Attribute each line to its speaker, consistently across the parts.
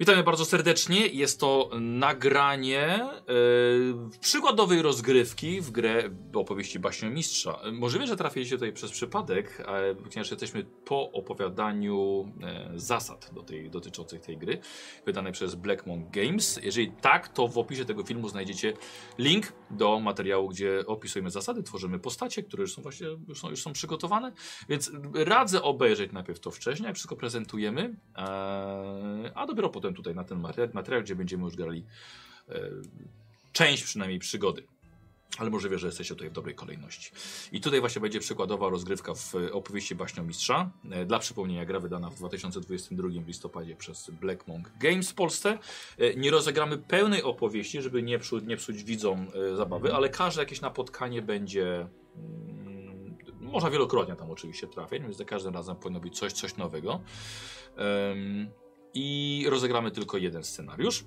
Speaker 1: Witamy bardzo serdecznie. Jest to nagranie yy, przykładowej rozgrywki w grę opowieści baśniomistrza. Yy, Możliwe, że trafiliście tutaj przez przypadek, ale ponieważ jesteśmy po opowiadaniu e, zasad do tej, dotyczących tej gry, wydanej przez Blackmon Games. Jeżeli tak, to w opisie tego filmu znajdziecie link do materiału, gdzie opisujemy zasady, tworzymy postacie, które już są właśnie już są, już są przygotowane. Więc radzę obejrzeć najpierw to wcześniej, jak wszystko prezentujemy, eee, a dopiero potem tutaj na ten materiał, materiał gdzie będziemy już grali e, część przynajmniej przygody. Ale możliwe, że jesteście tutaj w dobrej kolejności. I tutaj właśnie będzie przykładowa rozgrywka w opowieści Baśniomistrza. E, Dla przypomnienia, gra wydana w 2022 w listopadzie przez Black Monk Games w Polsce. E, Nie rozegramy pełnej opowieści, żeby nie, psu, nie psuć widzom e, zabawy, ale każde jakieś napotkanie będzie... mm, Można wielokrotnie tam oczywiście trafiać, więc za każdym razem powinno być coś, coś nowego. Em, I rozegramy tylko jeden scenariusz.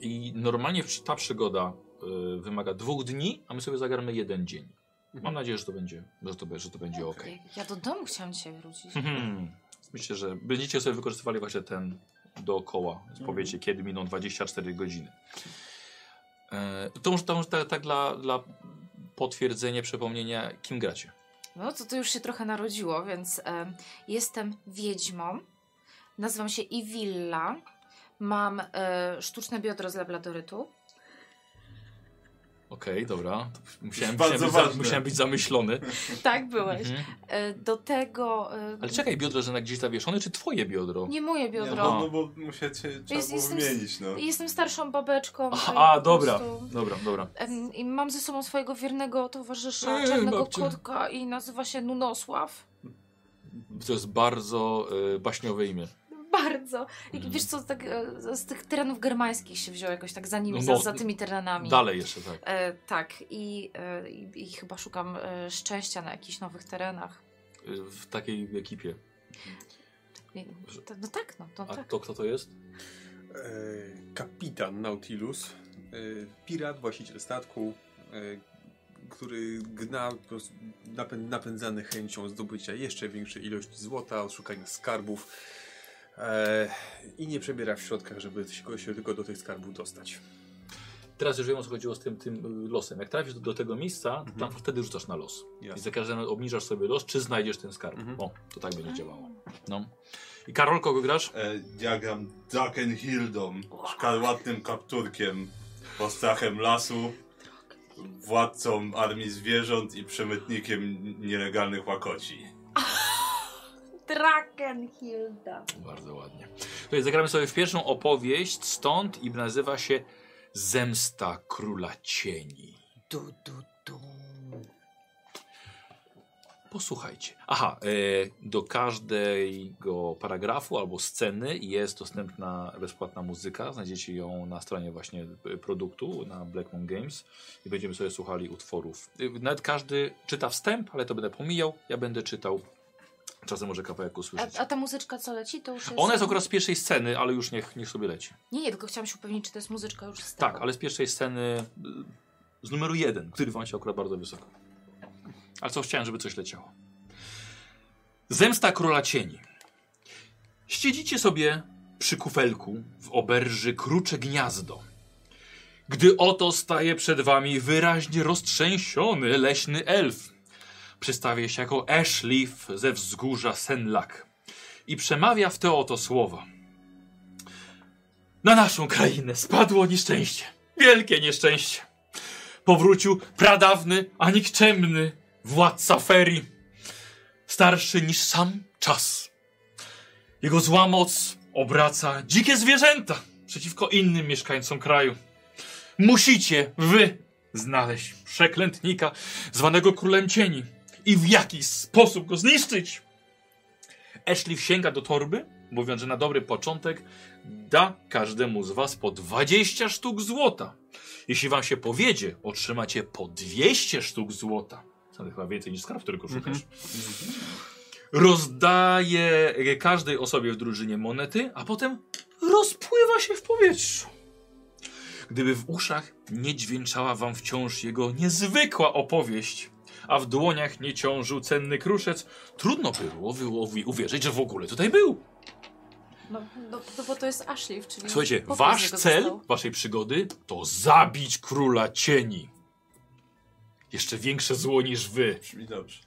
Speaker 1: I normalnie przy- ta przygoda y, wymaga dwóch dni, a my sobie zagramy jeden dzień. Mam nadzieję, że to będzie, że to, be- że to będzie ok.
Speaker 2: Ja do domu chciałam dzisiaj wrócić.
Speaker 1: Mhm. Myślę, że będziecie sobie wykorzystywali właśnie ten dookoła. Więc Powiecie, kiedy miną 24 godziny. E, to może, to może tak, tak dla, dla potwierdzenia, przypomnienia, kim gracie.
Speaker 2: No to to już się trochę narodziło, więc em, jestem wiedźmą. Nazywam się Iwilla. Mam e, sztuczne biodro z labladorytu.
Speaker 1: Okej, dobra. To Musiałem,
Speaker 3: Bardzo
Speaker 1: musiałem, być, za,
Speaker 3: ważne.
Speaker 1: musiałem być zamyślony.
Speaker 2: Tak byłeś.
Speaker 1: Mhm.
Speaker 2: E, do tego... E,
Speaker 1: Ale czekaj, biodro, że na gdzieś zawieszone, czy twoje biodro?
Speaker 2: Nie moje
Speaker 3: Nie,
Speaker 2: biodro.
Speaker 3: no, no bo musicie, trzeba
Speaker 2: Jest-
Speaker 3: było
Speaker 2: jestem-
Speaker 3: wymienić, no.
Speaker 2: Jestem starszą babeczką.
Speaker 1: Aha,
Speaker 2: e,
Speaker 1: a,
Speaker 2: po
Speaker 1: dobra.
Speaker 2: prostu-
Speaker 1: Dobra, dobra.
Speaker 2: Em, I mam ze sobą swojego wiernego towarzysza,
Speaker 1: Ej,
Speaker 2: czarnego
Speaker 1: babciu.
Speaker 2: kotka i nazywa się Nunosław.
Speaker 1: To jest bardzo y, baśniowe imię.
Speaker 2: Bardzo. I
Speaker 1: Mhm.
Speaker 2: wiesz co, tak, e, z tych terenów germańskich się wziął jakoś tak za nimi,
Speaker 1: No, no,
Speaker 2: za, za tymi terenami.
Speaker 1: Dalej jeszcze tak.
Speaker 2: E, tak, i, e, i, i chyba szukam e, szczęścia na jakichś nowych terenach.
Speaker 1: Y, w takiej ekipie.
Speaker 2: I, to, no tak, no to
Speaker 1: A
Speaker 2: tak.
Speaker 1: to kto to jest?
Speaker 3: E, Kapitan Nautilus, e, pirat, właściciel statku, e, który gna po prostu napę- napędzany chęcią zdobycia jeszcze większej ilości złota, odszukania skarbów e, i nie przebiera w środkach, żeby się, się tylko do tych skarbów dostać.
Speaker 1: Teraz już wiem o co chodziło z tym, tym y, losem. Jak trafisz do, do tego miejsca, to tam wtedy rzucasz na los. I
Speaker 3: Jasne.
Speaker 1: za każdym razem obniżasz sobie los, czy znajdziesz ten skarb.
Speaker 3: Mhm.
Speaker 1: O, to tak będzie działało. No. I Karol, kogo grasz?
Speaker 4: E, ja gram Dakenhildą, szkarłatnym kapturkiem, postrachem lasu, władcą armii zwierząt i przemytnikiem nielegalnych łakoci.
Speaker 2: Drakenhilda.
Speaker 1: Bardzo ładnie. Tutaj zagramy sobie w pierwszą opowieść stąd i nazywa się Zemsta Króla Cieni.
Speaker 2: Du, du, du.
Speaker 1: Posłuchajcie. Aha, e, do każdego paragrafu albo sceny jest dostępna bezpłatna muzyka. Znajdziecie ją na stronie właśnie e, produktu na Black Moon Games i będziemy sobie słuchali utworów. E, Nawet każdy czyta wstęp, ale to będę pomijał. Ja będę czytał. Czasem może kawałek usłyszeć.
Speaker 2: A, a ta muzyczka co leci, to już jest...
Speaker 1: Ona jest akurat z pierwszej sceny, ale już niech, niech sobie leci.
Speaker 2: Nie, nie, tylko chciałam się upewnić, czy to jest muzyczka już z
Speaker 1: Tak,
Speaker 2: tego.
Speaker 1: ale z pierwszej sceny y, z numeru jeden, który wam się akurat bardzo wysoko. Ale co chciałem, żeby coś leciało. Zemsta króla cieni. Siedzicie sobie przy kufelku w oberży krucze gniazdo. Gdy oto staje przed wami wyraźnie roztrzęsiony leśny elf. Przedstawia się jako Ashleaf ze wzgórza Senlak i przemawia w te oto słowa. Na naszą krainę spadło nieszczęście. Wielkie nieszczęście. Powrócił pradawny, a nikczemny władca ferii. Starszy niż sam czas. Jego zła moc obraca dzikie zwierzęta przeciwko innym mieszkańcom kraju. Musicie wy znaleźć przeklętnika zwanego królem cieni i w jakiś sposób go zniszczyć. Ashley sięga do torby, mówiąc, że na dobry początek da każdemu z was po 20 sztuk złota. Jeśli wam się powiedzie, otrzymacie po 200 sztuk złota. To chyba więcej niż skarb, którego szukasz. Rozdaje każdej osobie w drużynie monety, a potem rozpływa się w powietrzu. Gdyby w uszach nie dźwięczała wam wciąż jego niezwykła opowieść, a w dłoniach nie ciążył cenny kruszec, trudno było wyłowi- uwierzyć, że w ogóle tutaj był.
Speaker 2: No, no, no bo to jest Ashley, czyli.
Speaker 1: Słuchajcie,
Speaker 2: popis
Speaker 1: wasz
Speaker 2: jego
Speaker 1: cel
Speaker 2: został.
Speaker 1: waszej przygody to zabić króla cieni. Jeszcze większe zło niż wy.
Speaker 4: Brzmi dobrze.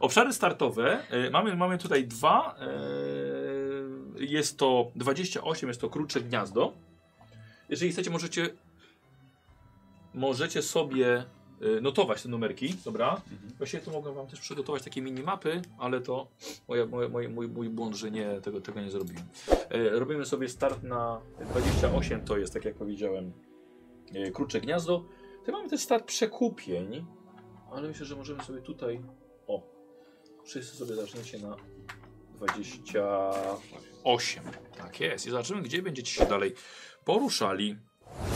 Speaker 1: Obszary startowe. e, Mamy, mamy tutaj dwa. e, Jest to 28, jest to krótsze gniazdo. Jeżeli chcecie, możecie możecie sobie e, notować te numerki, dobra? Właśnie tu mogłem wam też przygotować takie minimapy, ale to moja, moja, moje- mój, mój błąd, że nie, tego, tego nie zrobiłem. E, Robimy sobie start na 28, to jest, tak jak powiedziałem, e, krótsze gniazdo. Tutaj mamy też start przekupień, ale myślę, że możemy sobie tutaj o. Wszyscy sobie zaczniecie na 28. Tak jest. I zobaczymy, gdzie będziecie się dalej poruszali.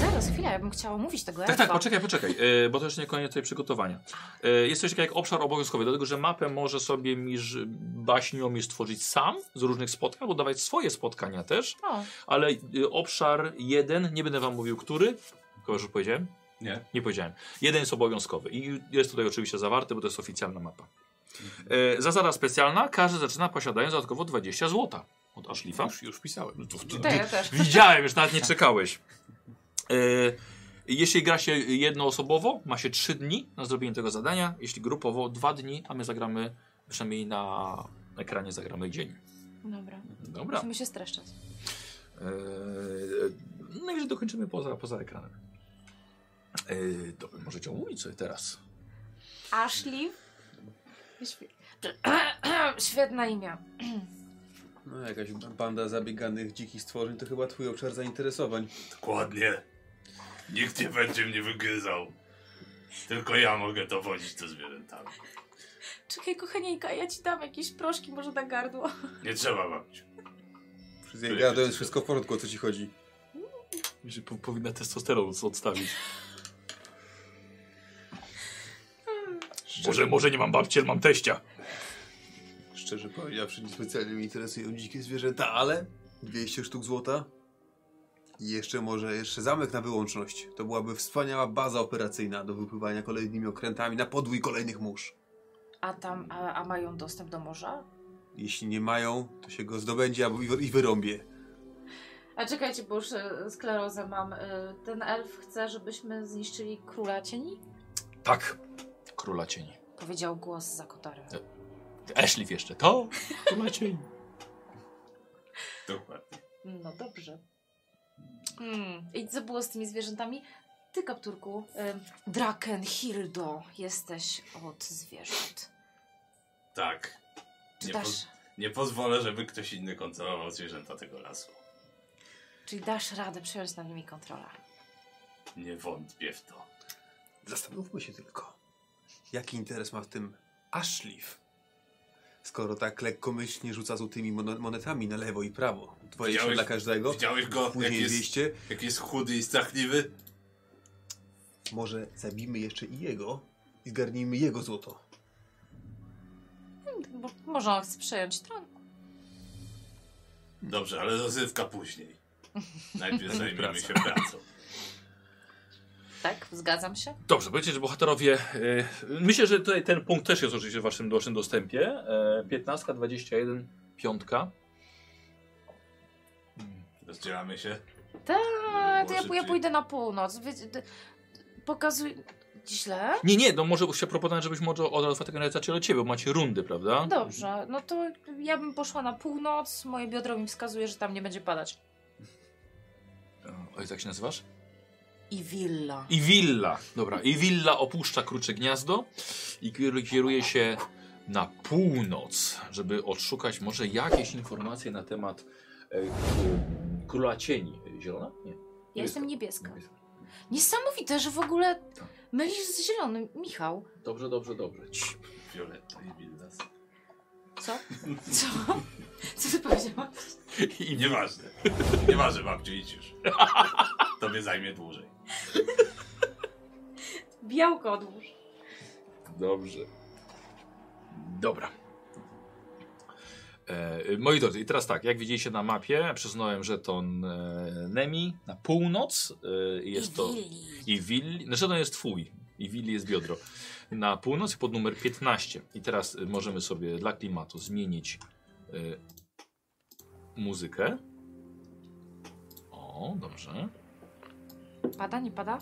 Speaker 2: Zaraz, chwila, ja bym chciała mówić tego
Speaker 1: Tak,
Speaker 2: elfa.
Speaker 1: tak, poczekaj, poczekaj, e, bo to jeszcze nie koniec tej przygotowania. E, Jest coś takiego jak obszar obowiązkowy, dlatego że mapę może sobie miż, baśniomierz stworzyć sam z różnych spotkań, udawać swoje spotkania też,
Speaker 2: O,
Speaker 1: ale e, obszar jeden, nie będę wam mówił który, chyba że powiedziałem,
Speaker 4: Nie.
Speaker 1: nie powiedziałem. Jeden jest obowiązkowy i jest tutaj oczywiście zawarty, bo to jest oficjalna mapa. E, zasada specjalna. Każdy zaczyna posiadając dodatkowo 20 zł od Ashlifa.
Speaker 3: Już, już pisałem.
Speaker 1: To- to-
Speaker 2: to ja też.
Speaker 1: Widziałem, już nawet nie czekałeś. E, jeśli gra się jednoosobowo, ma się 3 dni na zrobienie tego zadania. Jeśli grupowo, 2 dni, a my zagramy przynajmniej na ekranie zagramy dzień.
Speaker 2: Dobra.
Speaker 1: Dobra.
Speaker 2: Musimy się streszczać.
Speaker 1: Eee, najwyżej dokończymy poza, poza ekranem. Eee, to wy możecie omówić sobie teraz.
Speaker 2: Ashley. Świ- Świetne imię.
Speaker 3: No jakaś banda zabieganych dzikich stworzeń to chyba twój obszar zainteresowań.
Speaker 4: Dokładnie. Nikt nie będzie mnie wygryzał. Tylko ja mogę dowodzić to zwierzętami.
Speaker 2: Czekaj, kochanieńka, ja ci dam jakieś proszki może na gardło.
Speaker 4: Nie trzeba babciu.
Speaker 3: Przez ja to jest wszystko w porządku, o co ci chodzi.
Speaker 1: Że po, powinna testosteron odstawić. Może, może nie mam babci, ale mam teścia.
Speaker 3: Szczerze powiedziawszy, nie specjalnie mnie interesują dzikie zwierzęta, ale 200 sztuk złota i jeszcze może jeszcze zamek na wyłączność. To byłaby wspaniała baza operacyjna do wypływania kolejnymi okrętami na podwój kolejnych mórz.
Speaker 2: A tam, a, a mają dostęp do morza?
Speaker 3: Jeśli nie mają, to się go zdobędzie albo i wy- i wyrąbie.
Speaker 2: A czekajcie, bo już e, sklerozę mam. E, Ten elf chce, żebyśmy zniszczyli króla cieni?
Speaker 1: Tak. Króla cieni.
Speaker 2: Powiedział głos za kotarem.
Speaker 4: E.
Speaker 1: Eszlif jeszcze. To? Króla cieni.
Speaker 4: Dokładnie.
Speaker 2: No dobrze. Mm. I co było z tymi zwierzętami? Ty, kapturku, ym, Drakenhildo, jesteś od zwierząt.
Speaker 4: Tak.
Speaker 2: Czy
Speaker 4: Nie
Speaker 2: dasz,
Speaker 4: Nie pozwolę, żeby ktoś inny kontrolował zwierzęta tego lasu.
Speaker 2: czyli dasz radę przejąć nad nimi kontrolę?
Speaker 4: Nie wątpię w to.
Speaker 3: Zastanówmy się tylko, jaki interes ma w tym Ashleaf, skoro tak lekkomyślnie rzuca złotymi mono- monetami na lewo i prawo. 20
Speaker 4: Widziałeś-
Speaker 3: dla każdego,
Speaker 4: Widziałeś go, jak
Speaker 3: później
Speaker 4: jest,
Speaker 3: 200.
Speaker 4: jak jest chudy i strachliwy?
Speaker 3: Może zabijmy jeszcze i jego i zgarnijmy jego złoto.
Speaker 2: Hmm, bo- Może on chce przejąć tron?
Speaker 4: Dobrze, ale rozrywka później. Najpierw zajmiemy się pracą.
Speaker 2: Tak, zgadzam się.
Speaker 1: Dobrze, powiedzcie, że bohaterowie. y, myślę, że tutaj ten punkt też jest oczywiście w waszym dalszym dostępie. E, 15, 21, 5.
Speaker 4: Rozdzielamy się.
Speaker 2: A, E, Tak, to ja,
Speaker 4: Może
Speaker 2: ja
Speaker 4: ty-
Speaker 2: pójdę na północ. Wie, d- pokazuj... Źle?
Speaker 1: Nie, nie, no może się proponować, żebyś może od Alfa tego nie zaczęli od ciebie, bo macie rundy, prawda?
Speaker 2: Dobrze, no to ja bym poszła na północ, moje biodro mi wskazuje, że tam nie będzie padać.
Speaker 1: Oj, tak się nazywasz?
Speaker 2: I willa.
Speaker 1: I willa. Dobra, i willa opuszcza krucze gniazdo i kieru- kieruje się na północ, żeby odszukać może jakieś informacje na temat e, k- króla cieni. Zielona? Nie.
Speaker 2: Ja jestem niebieska.
Speaker 1: niebieska.
Speaker 2: Niesamowite, że w ogóle
Speaker 1: Tak.
Speaker 2: mylisz z zielonym, Michał.
Speaker 1: Dobrze, dobrze, dobrze. Ci.
Speaker 4: Violetta i Wildas.
Speaker 2: Co? Co? Co ty powiedziałaś?
Speaker 1: I nie.
Speaker 4: Nieważne. Nieważne, babciu, idź już. Tobie zajmie dłużej.
Speaker 2: Białko odłóż.
Speaker 1: Dobrze. Dobra. E, moi drodzy, i teraz tak, jak widzieliście na mapie, przesunąłem żeton e, Nemi na północ. E, i jest to.
Speaker 2: willi.
Speaker 1: I Willi, znaczy to jest twój, i Willi jest biodro. Na północ pod numer 15. I teraz y, możemy sobie dla klimatu zmienić y, muzykę. O, dobrze.
Speaker 2: Pada, nie pada?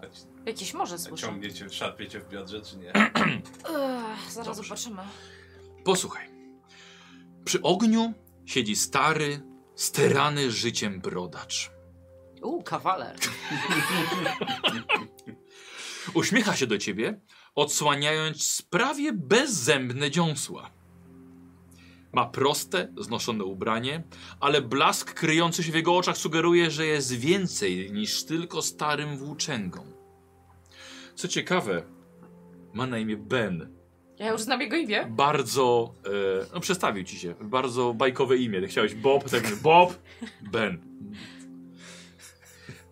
Speaker 3: A ci-
Speaker 2: Jakieś morze
Speaker 3: a
Speaker 2: słyszę.
Speaker 3: Ciągniecie, szarpiecie w biodrze, czy nie?
Speaker 4: Tak.
Speaker 2: Ech, zaraz
Speaker 1: Dobrze.
Speaker 2: zobaczymy.
Speaker 1: Posłuchaj. Przy ogniu siedzi stary, sterany życiem brodacz.
Speaker 2: U, kawaler.
Speaker 1: Uśmiecha się do ciebie, odsłaniając prawie bezzębne dziąsła. Ma proste, znoszone ubranie, ale blask kryjący się w jego oczach sugeruje, że jest więcej niż tylko starym włóczęgą. Co ciekawe, ma na imię Ben.
Speaker 2: Ja już znam jego imię.
Speaker 1: Bardzo, e, no przestawił ci się, bardzo bajkowe imię. Chciałeś Bob, tak mówię, Bob, Ben.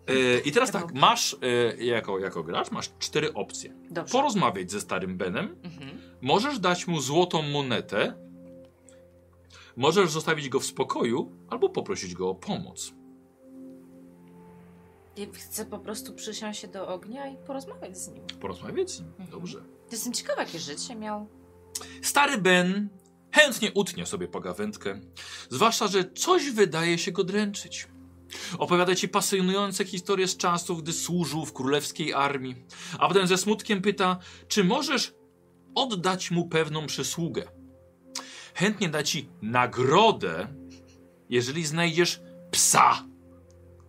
Speaker 1: E, I teraz tak, masz, e, jako, jako gracz, masz cztery opcje
Speaker 2: Dobrze.
Speaker 1: porozmawiać ze starym Benem.
Speaker 2: Mhm.
Speaker 1: Możesz dać mu złotą monetę. Możesz zostawić go w spokoju albo poprosić go o pomoc.
Speaker 2: Ja chcę po prostu przysiąść się do ognia i porozmawiać z nim.
Speaker 1: Porozmawiać z nim. Dobrze.
Speaker 2: Jestem ciekawa, jakie życie miał.
Speaker 1: Stary Ben chętnie utnie sobie pogawędkę. Zwłaszcza, że coś wydaje się go dręczyć. Opowiada ci pasjonujące historie z czasów, gdy służył w królewskiej armii. A potem ze smutkiem pyta, czy możesz oddać mu pewną przysługę. Chętnie da ci nagrodę, jeżeli znajdziesz psa,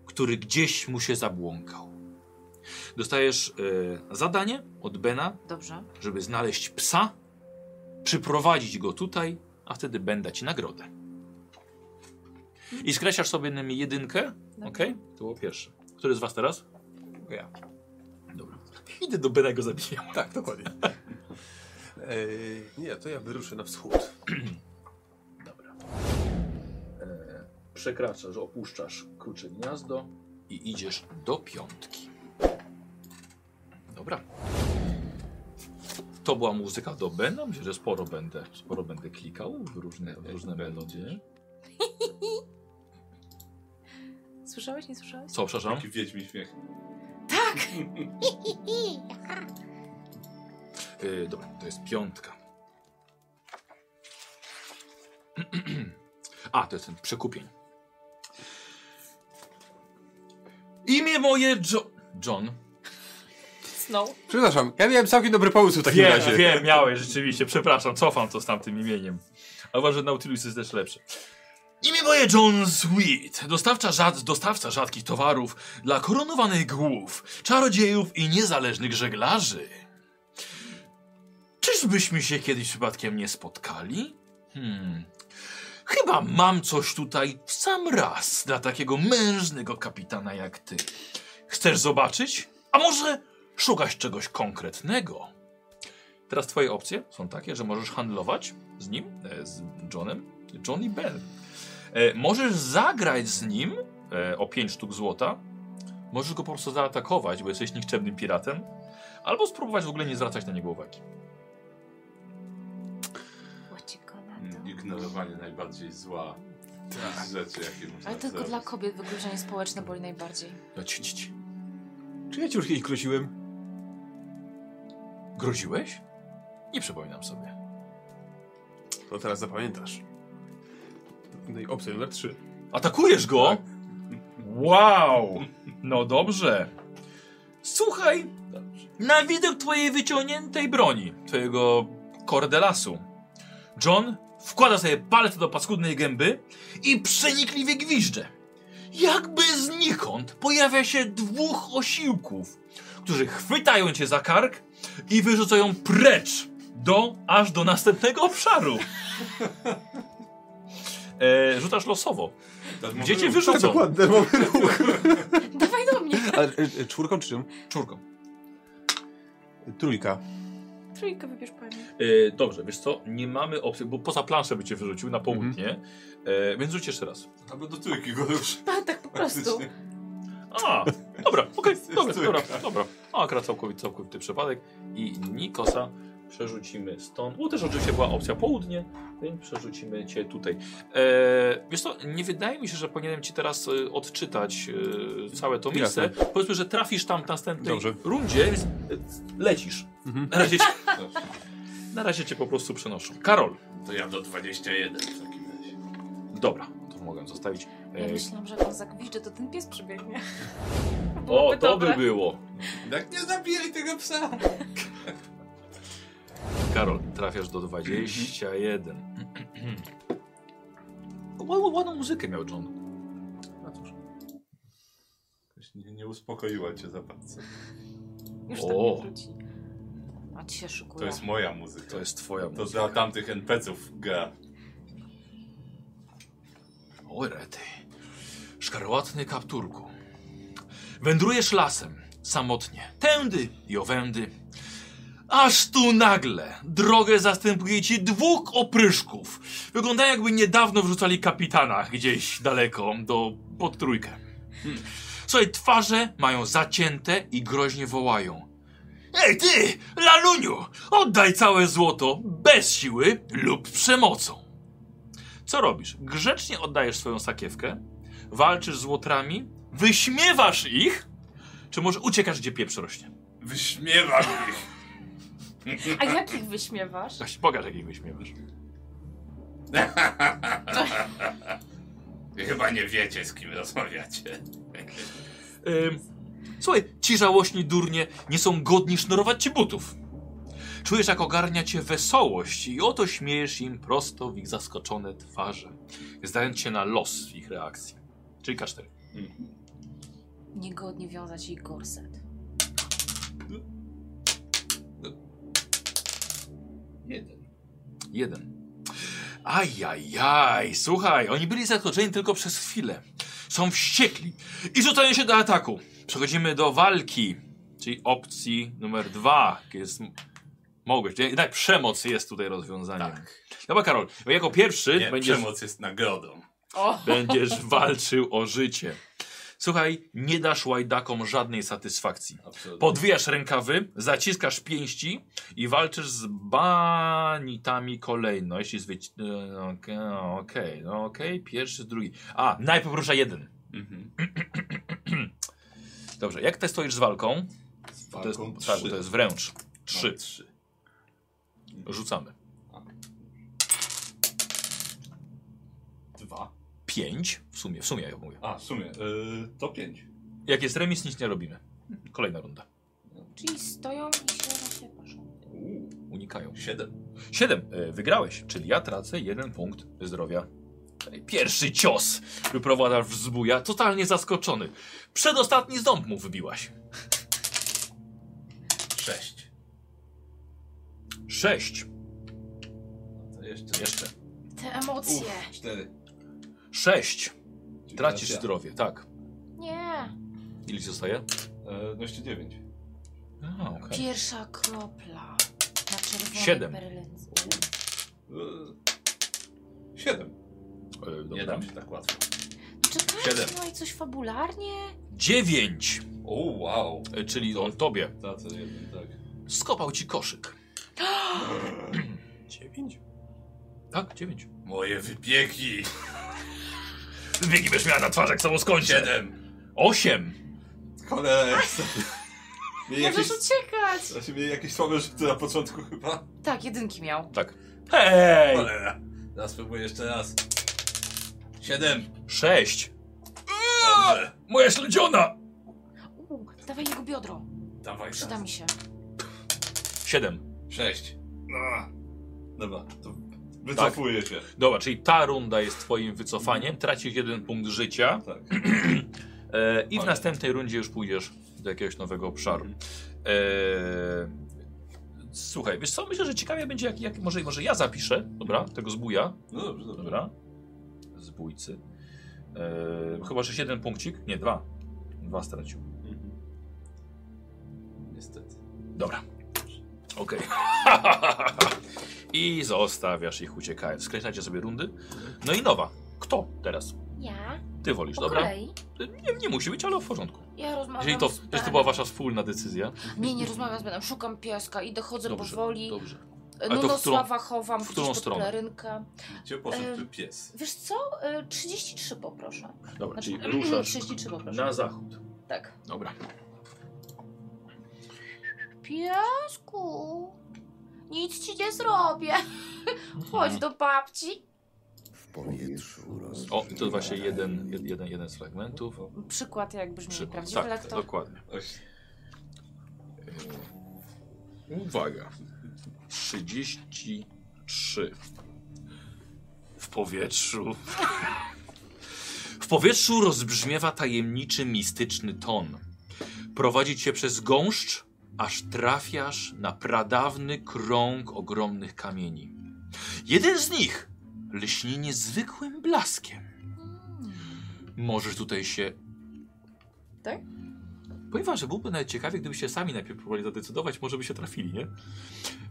Speaker 1: który gdzieś mu się zabłąkał. Dostajesz e, zadanie od Bena,
Speaker 2: Dobrze.
Speaker 1: żeby znaleźć psa, przyprowadzić go tutaj, a wtedy będę ci nagrodę. I skreślasz sobie na mi jedynkę.
Speaker 2: Dobra.
Speaker 1: Okej, to było pierwsze. Który z was teraz?
Speaker 3: Ja.
Speaker 1: Dobra. Idę do Bena go zabijam.
Speaker 3: Tak, dokładnie. E, nie, to ja wyruszę na wschód.
Speaker 1: Dobra. E, przekraczasz, opuszczasz krucze gniazdo i idziesz do piątki. Dobra. To była muzyka do Bena. Myślę, że sporo będę, sporo będę klikał w różne, w różne melodie.
Speaker 2: Słyszałeś, nie słyszałeś?
Speaker 1: Co, przepraszam?
Speaker 4: Taki wiedźmi śmiech.
Speaker 1: Yy, dobra, to jest piątka. A, to jest ten przekupień. Imię moje jo John.
Speaker 2: No.
Speaker 3: Przepraszam, ja miałem całkiem dobry pomysł w takim razie.
Speaker 1: wiem, miałeś rzeczywiście. Przepraszam, cofam to z tamtym imieniem. A uważam, że Nautilus jest też lepszy. Imię moje John Sweet, dostawca, rzad, dostawca rzadkich towarów dla koronowanych głów, czarodziejów i niezależnych żeglarzy. Czyżbyśmy się kiedyś przypadkiem nie spotkali? Hmm. Chyba mam coś tutaj w sam raz dla takiego mężnego kapitana jak ty. Chcesz zobaczyć? A może szukasz czegoś konkretnego? Teraz twoje opcje są takie, że możesz handlować z nim, e, z Johnem, John i Bell. E, możesz zagrać z nim e, o 5 sztuk złota. Możesz go po prostu zaatakować, bo jesteś nikczemnym piratem. Albo spróbować w ogóle nie zwracać na niego uwagi.
Speaker 2: Łacie go na
Speaker 4: Mm,
Speaker 2: to.
Speaker 4: Ignorowanie najbardziej zła rzeczy, jakie można
Speaker 2: Ale tylko
Speaker 4: zrobić.
Speaker 2: dla kobiet wykluczenie społeczne boli najbardziej.
Speaker 1: No, ci, ci, ci.
Speaker 3: Czy ja ci już kiedyś groziłem?
Speaker 1: Groziłeś? Nie przypominam sobie.
Speaker 3: To teraz zapamiętasz. No i opcja numer 3.
Speaker 1: Atakujesz go?
Speaker 3: Tak.
Speaker 1: Wow! No dobrze. Słuchaj, na widok twojej wyciągniętej broni, twojego kordelasu, John wkłada sobie palec do paskudnej gęby i przenikliwie gwizdże. Jakby znikąd pojawia się dwóch osiłków, którzy chwytają cię za kark i wyrzucają precz do, aż do następnego obszaru. E, rzucasz losowo.
Speaker 4: Darmowy
Speaker 1: Gdzie cię
Speaker 4: ruch.
Speaker 3: Tak,
Speaker 1: wyrzucą?
Speaker 3: dokładnie, mamy ruch.
Speaker 2: Dawaj do mnie!
Speaker 3: A, e, e, czwórką czy czym?
Speaker 1: Czurką.
Speaker 3: Trójka.
Speaker 2: Trójkę wybierz pani.
Speaker 1: E, dobrze, wiesz co, nie mamy opcji, bo poza planszę by cię wyrzucił na południe, e, więc rzuć jeszcze raz.
Speaker 4: Albo do trójki go już.
Speaker 2: Tak po prostu.
Speaker 1: A, dobra, okej,
Speaker 4: Jest
Speaker 1: dobra,
Speaker 4: trójka.
Speaker 1: dobra, dobra. A, akurat całkowity, całkowity przypadek i Nikosa przerzucimy stąd. U, też oczywiście była opcja południe, więc przerzucimy cię tutaj. E, wiesz co, nie wydaje mi się, że powinienem ci teraz e, odczytać e, całe to miejsce.
Speaker 3: Jasne.
Speaker 1: Powiedzmy, że trafisz tam w następnej
Speaker 3: Dobrze.
Speaker 1: rundzie, więc e, lecisz.
Speaker 3: Mhm.
Speaker 1: Na razie, cię- na razie cię po prostu przenoszą. Karol.
Speaker 4: To ja do 21 w takim razie.
Speaker 1: Dobra, to mogę zostawić.
Speaker 2: Ja
Speaker 1: E,
Speaker 2: myślałam, że jak on zagwiżdży, to ten pies przybiegnie.
Speaker 1: o,
Speaker 2: byłoby
Speaker 1: to by
Speaker 2: dobre.
Speaker 1: było.
Speaker 3: Tak, nie zabijaj tego psa!
Speaker 1: Karol, trafiasz do 21. Ładną, ładną muzykę miał John.
Speaker 3: No cóż,
Speaker 4: Jakoś Nie, nie uspokoiła cię za bardzo.
Speaker 2: Już tam nie
Speaker 1: O.
Speaker 2: wróci. A ci się szykuje.
Speaker 4: To jest moja muzyka.
Speaker 1: To jest twoja
Speaker 4: To
Speaker 1: muzyka.
Speaker 4: dla tamtych NPC-ów gra.
Speaker 1: O rety. Szkarłatny kapturku. Wędrujesz lasem, samotnie, tędy i owędy. Aż tu nagle drogę zastępuje ci dwóch opryszków. Wyglądają jakby niedawno wrzucali kapitana gdzieś daleko do pod trójkę. Hmm. Słuchaj, twarze mają zacięte i groźnie wołają. Ej ty, laluniu, oddaj całe złoto bez siły lub przemocą. Co robisz? Grzecznie oddajesz swoją sakiewkę, walczysz z łotrami, wyśmiewasz ich, czy może uciekasz, gdzie pieprz rośnie?
Speaker 4: Wyśmiewam ich!
Speaker 2: A jakich wyśmiewasz?
Speaker 1: Właśnie, pokaż, jak ich wyśmiewasz.
Speaker 4: Wy Chyba nie wiecie, z kim rozmawiacie.
Speaker 1: Tak. Ym, słuchaj, ci żałośni durnie nie są godni sznurować ci butów. Czujesz, jak ogarnia cię wesołość i oto śmiejesz im prosto w ich zaskoczone twarze, zdając się na los ich reakcji. Czyli tak. K4.
Speaker 2: Niegodnie wiązać jej gorset.
Speaker 4: Jeden.
Speaker 1: Jeden. Ajajaj, słuchaj, oni byli zaskoczeni tylko przez chwilę. Są wściekli i rzucają się do ataku. Przechodzimy do walki, czyli opcji numer dwa, gdzie jest m- mogłość. Jednak przemoc jest tutaj rozwiązaniem.
Speaker 4: Tak.
Speaker 1: Dobra Karol, jako pierwszy
Speaker 4: Nie,
Speaker 1: będziesz,
Speaker 4: przemoc jest nagrodą.
Speaker 2: O!
Speaker 1: będziesz walczył o życie. Słuchaj, nie dasz łajdakom żadnej satysfakcji.
Speaker 4: Absolutnie.
Speaker 1: Podwijasz rękawy, zaciskasz pięści i walczysz z banitami kolejno. Jeśli zwyci... e, no Okej, no okej, no okej, pierwszy, drugi. A, najpierw rusza jeden.
Speaker 4: Mhm.
Speaker 1: Dobrze, jak ty stoisz z walką?
Speaker 4: Z
Speaker 1: To jest,
Speaker 4: walką
Speaker 1: tak,
Speaker 4: trzy.
Speaker 1: bo to jest wręcz.
Speaker 4: Mam
Speaker 1: Trzy.
Speaker 4: trzy. No.
Speaker 1: Rzucamy.
Speaker 4: Dwa.
Speaker 1: Pięć w sumie, w sumie ja mówię.
Speaker 4: A, w sumie, y, to pięć.
Speaker 1: Jak jest remis, nic nie robimy. Kolejna runda.
Speaker 2: Czyli stoją i się na się paszą.
Speaker 4: Uuu,
Speaker 1: Unikają.
Speaker 4: siedem.
Speaker 1: Siedem. E, Wygrałeś, czyli ja tracę jeden punkt zdrowia. Pierwszy cios wyprowadzasz w zbuja, totalnie zaskoczony. Przedostatni ząb mu wybiłaś.
Speaker 4: Sześć.
Speaker 1: Sześć.
Speaker 4: To jeszcze.
Speaker 1: Jeszcze.
Speaker 2: Te emocje.
Speaker 4: Uff, cztery.
Speaker 1: Sześć.
Speaker 4: Czyli
Speaker 1: Tracisz
Speaker 4: teraz ja.
Speaker 1: zdrowie, tak.
Speaker 2: Nie.
Speaker 1: Ile ci zostaje?
Speaker 4: E, no jeszcze dziewięć.
Speaker 1: A, okej.
Speaker 2: Pierwsza kropla. Na czerwonej
Speaker 1: Siedem.
Speaker 2: perylynce.
Speaker 4: Uuu. E, Y, siedem.
Speaker 1: E,
Speaker 4: Nie
Speaker 1: Dobra.
Speaker 4: dam się tak łatwo.
Speaker 2: Czekajcie,
Speaker 4: Siedem.
Speaker 2: no i coś fabularnie?
Speaker 1: Dziewięć.
Speaker 4: O, wow.
Speaker 1: E, Czyli on tobie.
Speaker 4: Tracę jeden, tak.
Speaker 1: Skopał ci koszyk. Dziewięć? Tak, dziewięć.
Speaker 4: Moje wypieki.
Speaker 1: Wieki będziesz miała na twarzy, jak samo skończę.
Speaker 4: Siedem.
Speaker 1: Osiem.
Speaker 4: Cholera. Mieli
Speaker 2: Możesz
Speaker 4: jakieś,
Speaker 2: uciekać!
Speaker 4: Znaczy, mieli jakieś słabe rzuty na początku chyba.
Speaker 2: Tak, jedynki miał.
Speaker 1: Tak. Hej!
Speaker 4: Cholera. Teraz spróbuję jeszcze raz. Siedem.
Speaker 1: Sześć.
Speaker 4: Dobrze.
Speaker 1: Moja śledziona!
Speaker 2: Uuu, dawaj jego biodro.
Speaker 4: Dawaj
Speaker 1: Tak,
Speaker 2: Przyda
Speaker 4: raz.
Speaker 2: mi się.
Speaker 1: Siedem.
Speaker 4: Sześć. No. Dobra, to wycofuję się.
Speaker 1: Dobra, czyli ta runda jest twoim wycofaniem. Tracisz jeden punkt życia.
Speaker 4: Tak.
Speaker 1: E, I w
Speaker 4: Ale-
Speaker 1: następnej rundzie już pójdziesz do jakiegoś nowego obszaru.
Speaker 4: Mhm.
Speaker 1: E, słuchaj, wiesz co, myślę, że ciekawie będzie, jak, jak może, może ja zapiszę, dobra, tego zbuja,
Speaker 4: No dobrze, dobrze.
Speaker 1: dobra, zbójcy. E, chyba, że jest jeden punkcik, nie, dwa, dwa stracił.
Speaker 4: Mhm. Niestety.
Speaker 1: Dobra, okej. I zostawiasz ich uciekając. Skreślacie sobie rundy. No i nowa. Kto teraz?
Speaker 2: Ja?
Speaker 1: Ty wolisz,
Speaker 2: Po
Speaker 1: dobra?
Speaker 2: kolei.
Speaker 1: Nie, nie musi być, ale w porządku.
Speaker 2: Ja rozmawiam
Speaker 1: Jeżeli to,
Speaker 2: z
Speaker 1: jeżeli to
Speaker 2: Benem.
Speaker 1: była wasza wspólna decyzja.
Speaker 2: Nie, nie rozmawiam z Benem. Szukam pieska i dochodzę powoli.
Speaker 1: dobrze.
Speaker 2: E,
Speaker 1: Ale to w
Speaker 2: Nunosława chowam
Speaker 1: w
Speaker 2: gdzieś
Speaker 1: którą
Speaker 2: pod
Speaker 1: stronę?
Speaker 2: pelerynkę.
Speaker 4: Gdzie poszedł
Speaker 2: E,
Speaker 4: ten pies?
Speaker 2: Wiesz co? E, 33 poproszę.
Speaker 1: Dobra,
Speaker 2: Znaczy,
Speaker 1: czyli ruszasz
Speaker 2: 33 poproszę.
Speaker 1: na zachód.
Speaker 2: Tak.
Speaker 1: Dobra.
Speaker 2: Piesku, nic ci nie zrobię. Chodź do babci.
Speaker 5: W powietrzu roz...
Speaker 1: O, to właśnie jeden, jed- jeden, jeden z fragmentów.
Speaker 2: Przykład jak brzmi
Speaker 1: Przykład.
Speaker 2: Mm, prawdziwy
Speaker 1: Tak,
Speaker 2: lektor.
Speaker 1: dokładnie.
Speaker 3: Uwaga.
Speaker 1: 33. W powietrzu. W powietrzu rozbrzmiewa tajemniczy, mistyczny ton. Prowadzi cię przez gąszcz, aż trafiasz na pradawny krąg ogromnych kamieni. Jeden z nich lśni niezwykłym blaskiem. Możesz tutaj się.
Speaker 2: Tak?
Speaker 1: Powiem wam, że byłby nawet ciekawie, gdybyście sami najpierw próbowali zadecydować, może by się trafili, nie?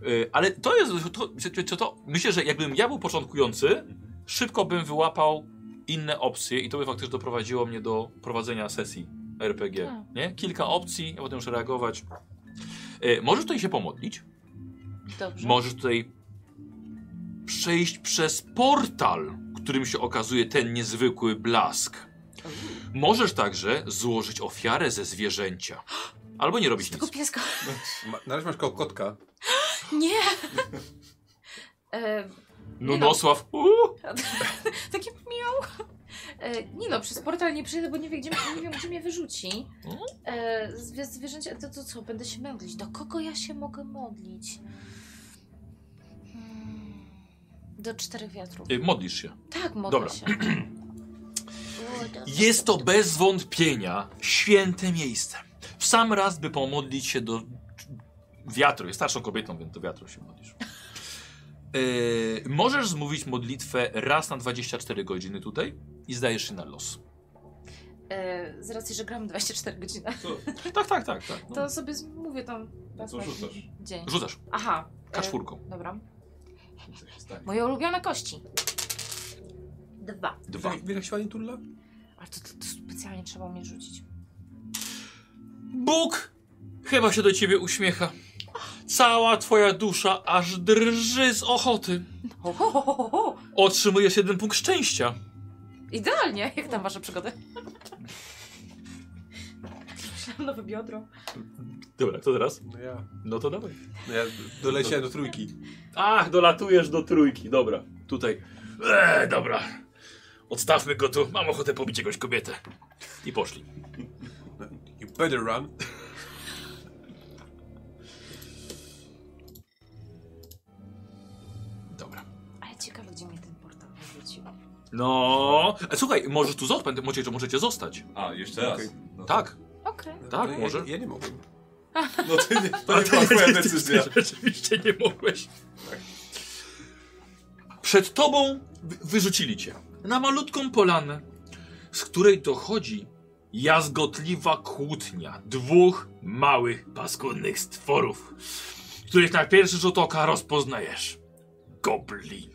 Speaker 1: Y, Ale to jest. To, czy, czy to, myślę, że jakbym ja był początkujący, szybko bym wyłapał inne opcje i to by faktycznie doprowadziło mnie do prowadzenia sesji RPG.
Speaker 2: Tak.
Speaker 1: Nie? Kilka opcji, a potem już reagować. Y, Możesz tutaj się pomodlić.
Speaker 2: Dobrze.
Speaker 1: Możesz tutaj przejść przez portal, którym się okazuje ten niezwykły blask. Możesz także złożyć ofiarę ze zwierzęcia. Albo nie robić
Speaker 2: Tego
Speaker 1: nic.
Speaker 2: pieska.
Speaker 3: Ma, na razie masz koło kotka.
Speaker 2: Nie! E,
Speaker 1: No Nosław. uuu.
Speaker 2: Takie miał. E, nie no, przez portal nie przyjdę, bo nie wiem, gdzie, nie wiem, gdzie mnie wyrzuci. E, zwie, zwierzęcie, to, to co, będę się modlić. Do kogo ja się mogę modlić? Hmm. Do czterech wiatrów.
Speaker 1: Y, Modlisz się.
Speaker 2: Tak, modlę
Speaker 1: dobra.
Speaker 2: się.
Speaker 1: Jest to bez wątpienia święte miejsce. W sam raz, by pomodlić się do wiatru. Jest starszą kobietą, więc do wiatru się modlisz. Yy, możesz zmówić modlitwę raz na 24 godziny tutaj i zdajesz się na los.
Speaker 2: E, z racji, że gramy 24 godziny,
Speaker 1: Tak, tak, tak. tak. No.
Speaker 2: to sobie z- mówię tam raz
Speaker 4: co
Speaker 2: na
Speaker 4: rzucasz?
Speaker 2: dzień.
Speaker 1: Rzucasz
Speaker 2: Aha. e,
Speaker 1: kaszwórką.
Speaker 2: Dobra.
Speaker 4: Tak.
Speaker 2: Moje ulubione kości. Dwa.
Speaker 1: Dwa.
Speaker 3: Wiesz, jak się ładnie turla?
Speaker 2: Ale to, to, to specjalnie trzeba mnie rzucić.
Speaker 1: Bóg chyba się do ciebie uśmiecha. Cała twoja dusza aż drży z ochoty.
Speaker 2: Ho, ho, ho, ho, ho.
Speaker 1: Otrzymujesz jeden punkt szczęścia.
Speaker 2: Idealnie, jak tam wasze przygody? Myślałam nowe biodro.
Speaker 1: Dobra, to teraz?
Speaker 3: No ja.
Speaker 1: No to dawaj.
Speaker 3: No ja doleciałem do trójki.
Speaker 1: Ach, dolatujesz do trójki, dobra. Tutaj. Eee, dobra. Odstawmy go tu. Mam ochotę pobić jakąś kobietę. I poszli.
Speaker 3: You better run.
Speaker 1: Dobra.
Speaker 2: Ale ciekawe, gdzie mnie ten portal wyrzucił.
Speaker 1: No. E, Słuchaj, możesz tu zostać, możecie, możecie zostać.
Speaker 4: A, jeszcze raz.
Speaker 3: Okej.
Speaker 4: No to-
Speaker 1: Tak.
Speaker 2: Okej.
Speaker 1: Tak,
Speaker 3: ja,
Speaker 1: może.
Speaker 3: Ja, ja nie mogłem.
Speaker 4: No to nie, to nie była twoja decyzja.
Speaker 1: Rzeczywiście nie mogłeś. Przed tobą wy- wyrzucili cię na malutką polanę, z której dochodzi jazgotliwa kłótnia dwóch małych, paskudnych stworów, których na pierwszy rzut oka rozpoznajesz. Gobliny.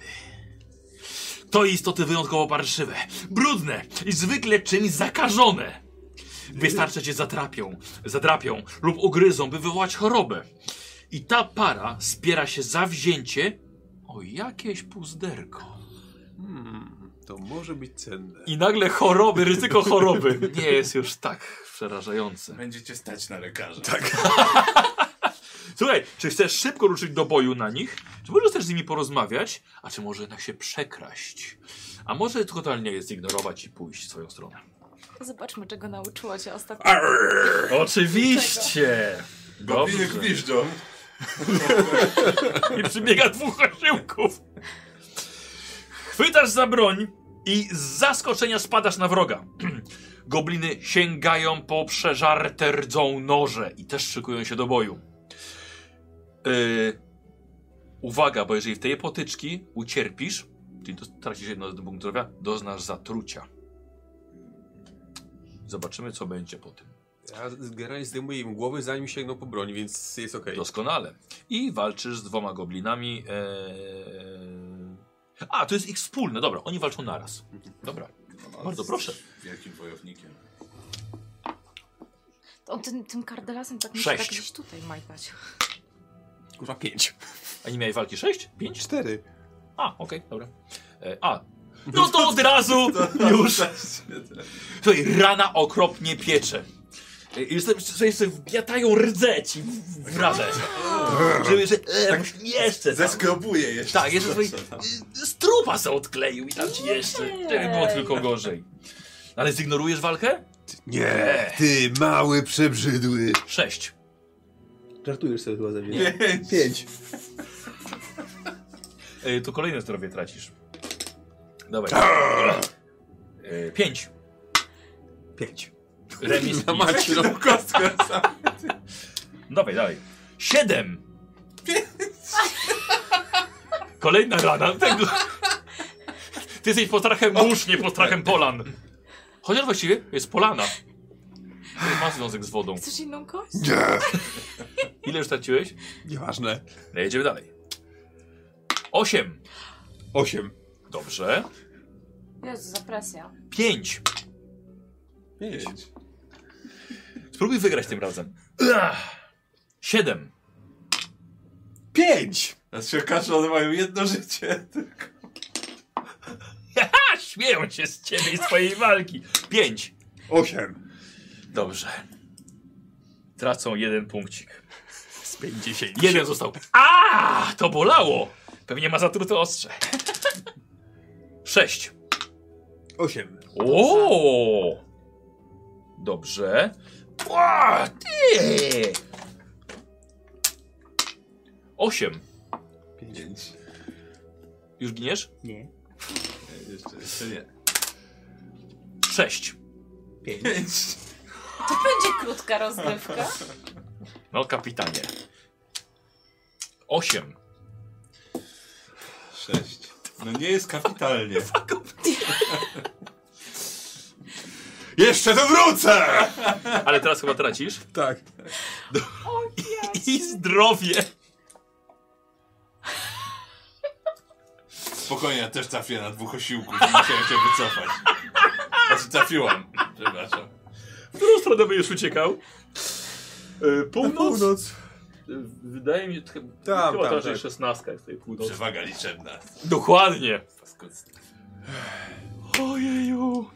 Speaker 1: To istoty wyjątkowo parszywe, brudne i zwykle czymś zakażone. Wystarczy cię zatrapią, zadrapią lub ugryzą, by wywołać chorobę. I ta para spiera się zawzięcie o jakieś puzderko.
Speaker 3: Hmm, to może być cenne.
Speaker 1: I nagle choroby, ryzyko choroby. Nie jest już tak przerażające.
Speaker 4: Będziecie stać na lekarza. Tak.
Speaker 1: Słuchaj, czy chcesz szybko ruszyć do boju na nich? Czy możesz też z nimi porozmawiać? A czy może jednak się przekraść? A może totalnie je zignorować i pójść w swoją stronę?
Speaker 2: Zobaczmy, czego nauczyła cię ostatnio.
Speaker 4: Arr!
Speaker 1: Oczywiście!
Speaker 4: Gobliny
Speaker 1: Dobrze.
Speaker 4: gwiżdżą.
Speaker 1: I przybiega dwóch orzełków. Chwytasz za broń i z zaskoczenia spadasz na wroga. Gobliny sięgają po przeżarte rdzą noże i też szykują się do boju. Yy, uwaga, bo jeżeli w tej potyczki ucierpisz, czyli dos- tracisz jedno z punktów zdrowia, doznasz zatrucia. Zobaczymy, co będzie po tym.
Speaker 3: Ja z- generalnie zdejmuję im głowy, zanim sięgną po broń, więc jest okej.
Speaker 1: Doskonale. I walczysz z dwoma goblinami. Eee... A, to jest ich wspólne, dobra, oni walczą naraz. Dobra. Bardzo proszę.
Speaker 4: Wielkim wojownikiem.
Speaker 2: On tym, tym kardelasem tak musi tak
Speaker 1: Sześć.
Speaker 2: gdzieś tutaj majtać.
Speaker 3: Kurwa, pięć.
Speaker 1: A nie miałeś walki 6? 5?
Speaker 3: Cztery.
Speaker 1: A, okej, dobra. E, a. No to od razu już.
Speaker 4: Świetne.
Speaker 1: Tutaj rana okropnie piecze. E, I już sobie, sobie, sobie wbiatają rdze ci w, w radę. Żeby jeszcze, e, tak, jeszcze tam.
Speaker 5: Zeskrobuję jeszcze.
Speaker 1: Tak, jeszcze sobie, y, z trupa se odkleił i tam ci jeszcze. Żeby było tylko gorzej. Ale zignorujesz walkę?
Speaker 5: Nie, ty mały przebrzydły.
Speaker 1: Sześć.
Speaker 6: Żartujesz sobie chyba ze mnie.
Speaker 1: Nie.
Speaker 6: Pięć.
Speaker 1: Y, tu kolejne zdrowie tracisz. Dawaj. Y, pięć.
Speaker 6: Pięć.
Speaker 1: Remis.
Speaker 3: Na macie no. tą kostkę.
Speaker 1: Dawaj, dawaj. Siedem. Kolejna rana. Tego. Ty jesteś postrachem mórz, nie postrachem polan. Chociaż właściwie jest polana. To Ma związek z wodą.
Speaker 2: Chcesz inną kość?
Speaker 5: Nie.
Speaker 1: Ile już straciłeś?
Speaker 3: Nieważne.
Speaker 1: No jedziemy dalej. Osiem.
Speaker 3: Osiem.
Speaker 1: Dobrze.
Speaker 2: Jezu, zapresja.
Speaker 1: Pięć.
Speaker 3: Pięć.
Speaker 1: Spróbuj wygrać tym razem. Ach. Siedem.
Speaker 6: Pięć!
Speaker 5: Teraz się okaże, że one mają jedno życie.
Speaker 1: A, śmieją się z ciebie i z twojej walki. Pięć.
Speaker 5: Osiem.
Speaker 1: Dobrze. Tracą jeden punkcik. Z 50. Jeden został. A, to bolało! Pewnie ma zatrute ostrze. Sześć.
Speaker 6: Osiem.
Speaker 1: O! Dobrze. O, ty! Osiem.
Speaker 5: Pięć.
Speaker 1: Już giniesz?
Speaker 6: Nie.
Speaker 5: Jeszcze, jeszcze nie.
Speaker 1: Sześć.
Speaker 6: Pięć.
Speaker 2: To będzie krótka rozgrywka.
Speaker 1: No, kapitanie. Osiem.
Speaker 5: Sześć. No nie jest kapitalnie. Jeszcze tu wrócę!
Speaker 1: Ale teraz chyba tracisz.
Speaker 3: Tak.
Speaker 1: I zdrowie.
Speaker 5: Spokojnie, ja też trafię na dwóch osiłków. i Musiałem się wycofać. Znaczy trafiłam. Przepraszam.
Speaker 1: W którą stronę będziesz uciekał? E, Północ? E,
Speaker 3: Północ.
Speaker 1: Wydaje mi się, tam,
Speaker 3: Tam,
Speaker 1: chyba
Speaker 3: tam,
Speaker 1: tam, że
Speaker 3: tak.
Speaker 1: jest 16 z tej północy.
Speaker 5: Przewaga liczebna.
Speaker 1: Dokładnie.
Speaker 5: Paskudny.
Speaker 1: Ojeju.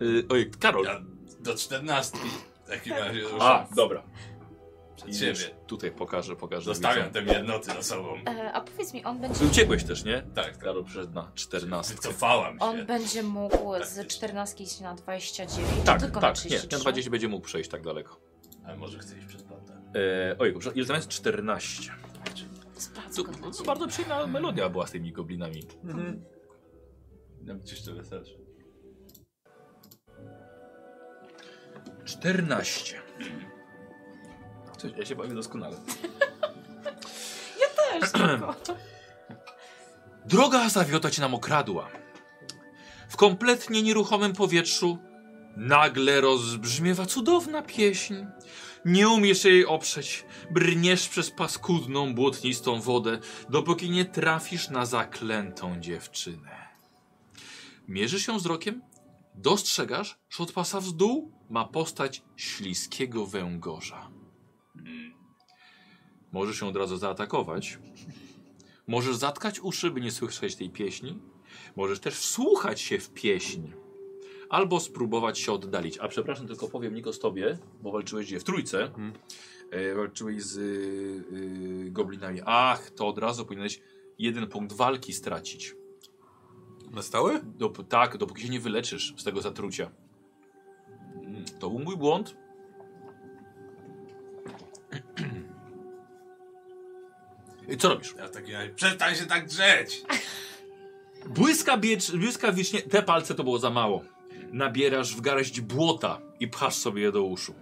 Speaker 1: Yy, oj, Karol.
Speaker 5: Ja do czternastki w takim razie
Speaker 1: A,
Speaker 5: ruszam
Speaker 1: dobra.
Speaker 5: przed
Speaker 1: Idziesz.
Speaker 5: siebie.
Speaker 1: Tutaj pokażę, pokażę.
Speaker 5: Zostawiam
Speaker 1: widzom.
Speaker 5: te jednoty za sobą.
Speaker 2: E, a powiedz mi, on będzie,
Speaker 1: Ty Uciekłeś też, nie?
Speaker 5: Tak, tak.
Speaker 1: Karol przed na 14.
Speaker 5: Wycofałam się.
Speaker 2: on będzie mógł z 14 iść na 29, czy
Speaker 1: Tak,
Speaker 2: tylko na
Speaker 1: tak, nie,
Speaker 2: 33?
Speaker 1: na 20 będzie mógł przejść tak daleko.
Speaker 5: Ale może chce iść przed bandę.
Speaker 1: Yy, ojej, ile tam jest? 14.
Speaker 2: Sprawdzę
Speaker 1: To,
Speaker 2: go dla
Speaker 1: to
Speaker 2: ciebie.
Speaker 1: bardzo przyjemna melodia była z tymi goblinami. No,
Speaker 5: Ja bym ci jeszcze weselszy.
Speaker 1: 14. Coś, ja się bawię doskonale.
Speaker 2: Też tylko.
Speaker 1: Droga zawiota cię nam okradła. W kompletnie nieruchomym powietrzu nagle rozbrzmiewa cudowna pieśń. Nie umiesz jej oprzeć. Brniesz przez paskudną, błotnistą wodę, dopóki nie trafisz na zaklętą dziewczynę. Mierzysz ją wzrokiem, dostrzegasz, że od pasa w dół ma postać śliskiego węgorza. Hmm. Możesz ją od razu zaatakować, Możesz zatkać uszy, by nie słyszeć tej pieśni. Możesz też wsłuchać się w pieśń. Albo spróbować się oddalić. A przepraszam, tylko powiem Nikos tobie, bo walczyłeś gdzie? W trójce. E, walczyłeś z y, y, goblinami. Ach, to od razu powinieneś jeden punkt walki stracić.
Speaker 3: Na stałe?
Speaker 1: Dop tak, dopóki się nie wyleczysz z tego zatrucia. Mm, To był mój błąd. I co robisz?
Speaker 5: Ja w takim razie przestań się tak drzeć!
Speaker 1: Błyskawiecz, błyskawicznie, te palce to było za mało. Nabierasz w garść błota i pchasz sobie je do uszu.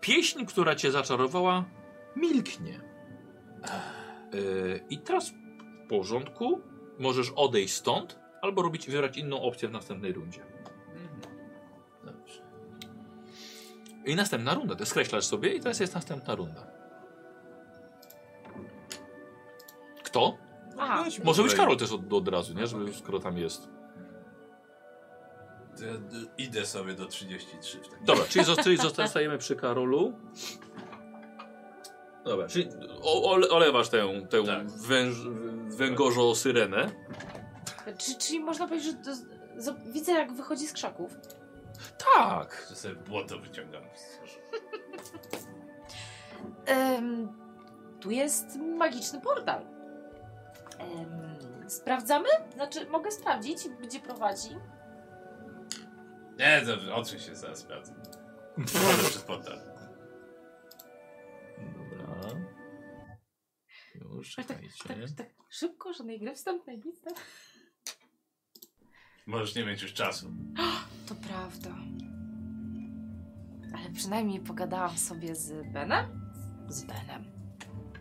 Speaker 1: Pieśń, która cię zaczarowała, milknie. Yy, I teraz w porządku, możesz odejść stąd, albo robić, wybrać inną opcję w następnej rundzie.
Speaker 5: Dobrze.
Speaker 1: I następna runda, to skreślasz sobie i teraz jest następna runda. Kto?
Speaker 2: Aha,
Speaker 1: Może być Karol też od, od razu, nie? Żeby, skoro tam jest.
Speaker 5: To ja d- idę sobie do 33 w takim
Speaker 1: Dobra, czyli zosta- czyli zostajemy przy Karolu. Dobra, czyli o, ole, olewasz tę, tę
Speaker 5: Tak.
Speaker 1: węż, węgorzo syrenę.
Speaker 2: Czy, czyli można powiedzieć, że to, z- z- widzę jak wychodzi z krzaków.
Speaker 1: Tak.
Speaker 4: Że sobie błoto wyciągam. z twarzy.
Speaker 2: Em, tu jest magiczny portal. Em, sprawdzamy? Znaczy, mogę sprawdzić, gdzie prowadzi.
Speaker 4: Nie, dobrze, oczy się zaraz sprawdzę. Chodzę przez portal.
Speaker 1: Dobra. Już,
Speaker 2: Tak, Tak,
Speaker 1: czekajcie.
Speaker 2: tak szybko, żadnej gry wstępnej, nic. Tak?
Speaker 4: Możesz nie mieć już czasu.
Speaker 2: To prawda. Ale przynajmniej pogadałam sobie z Benem. Z Benem.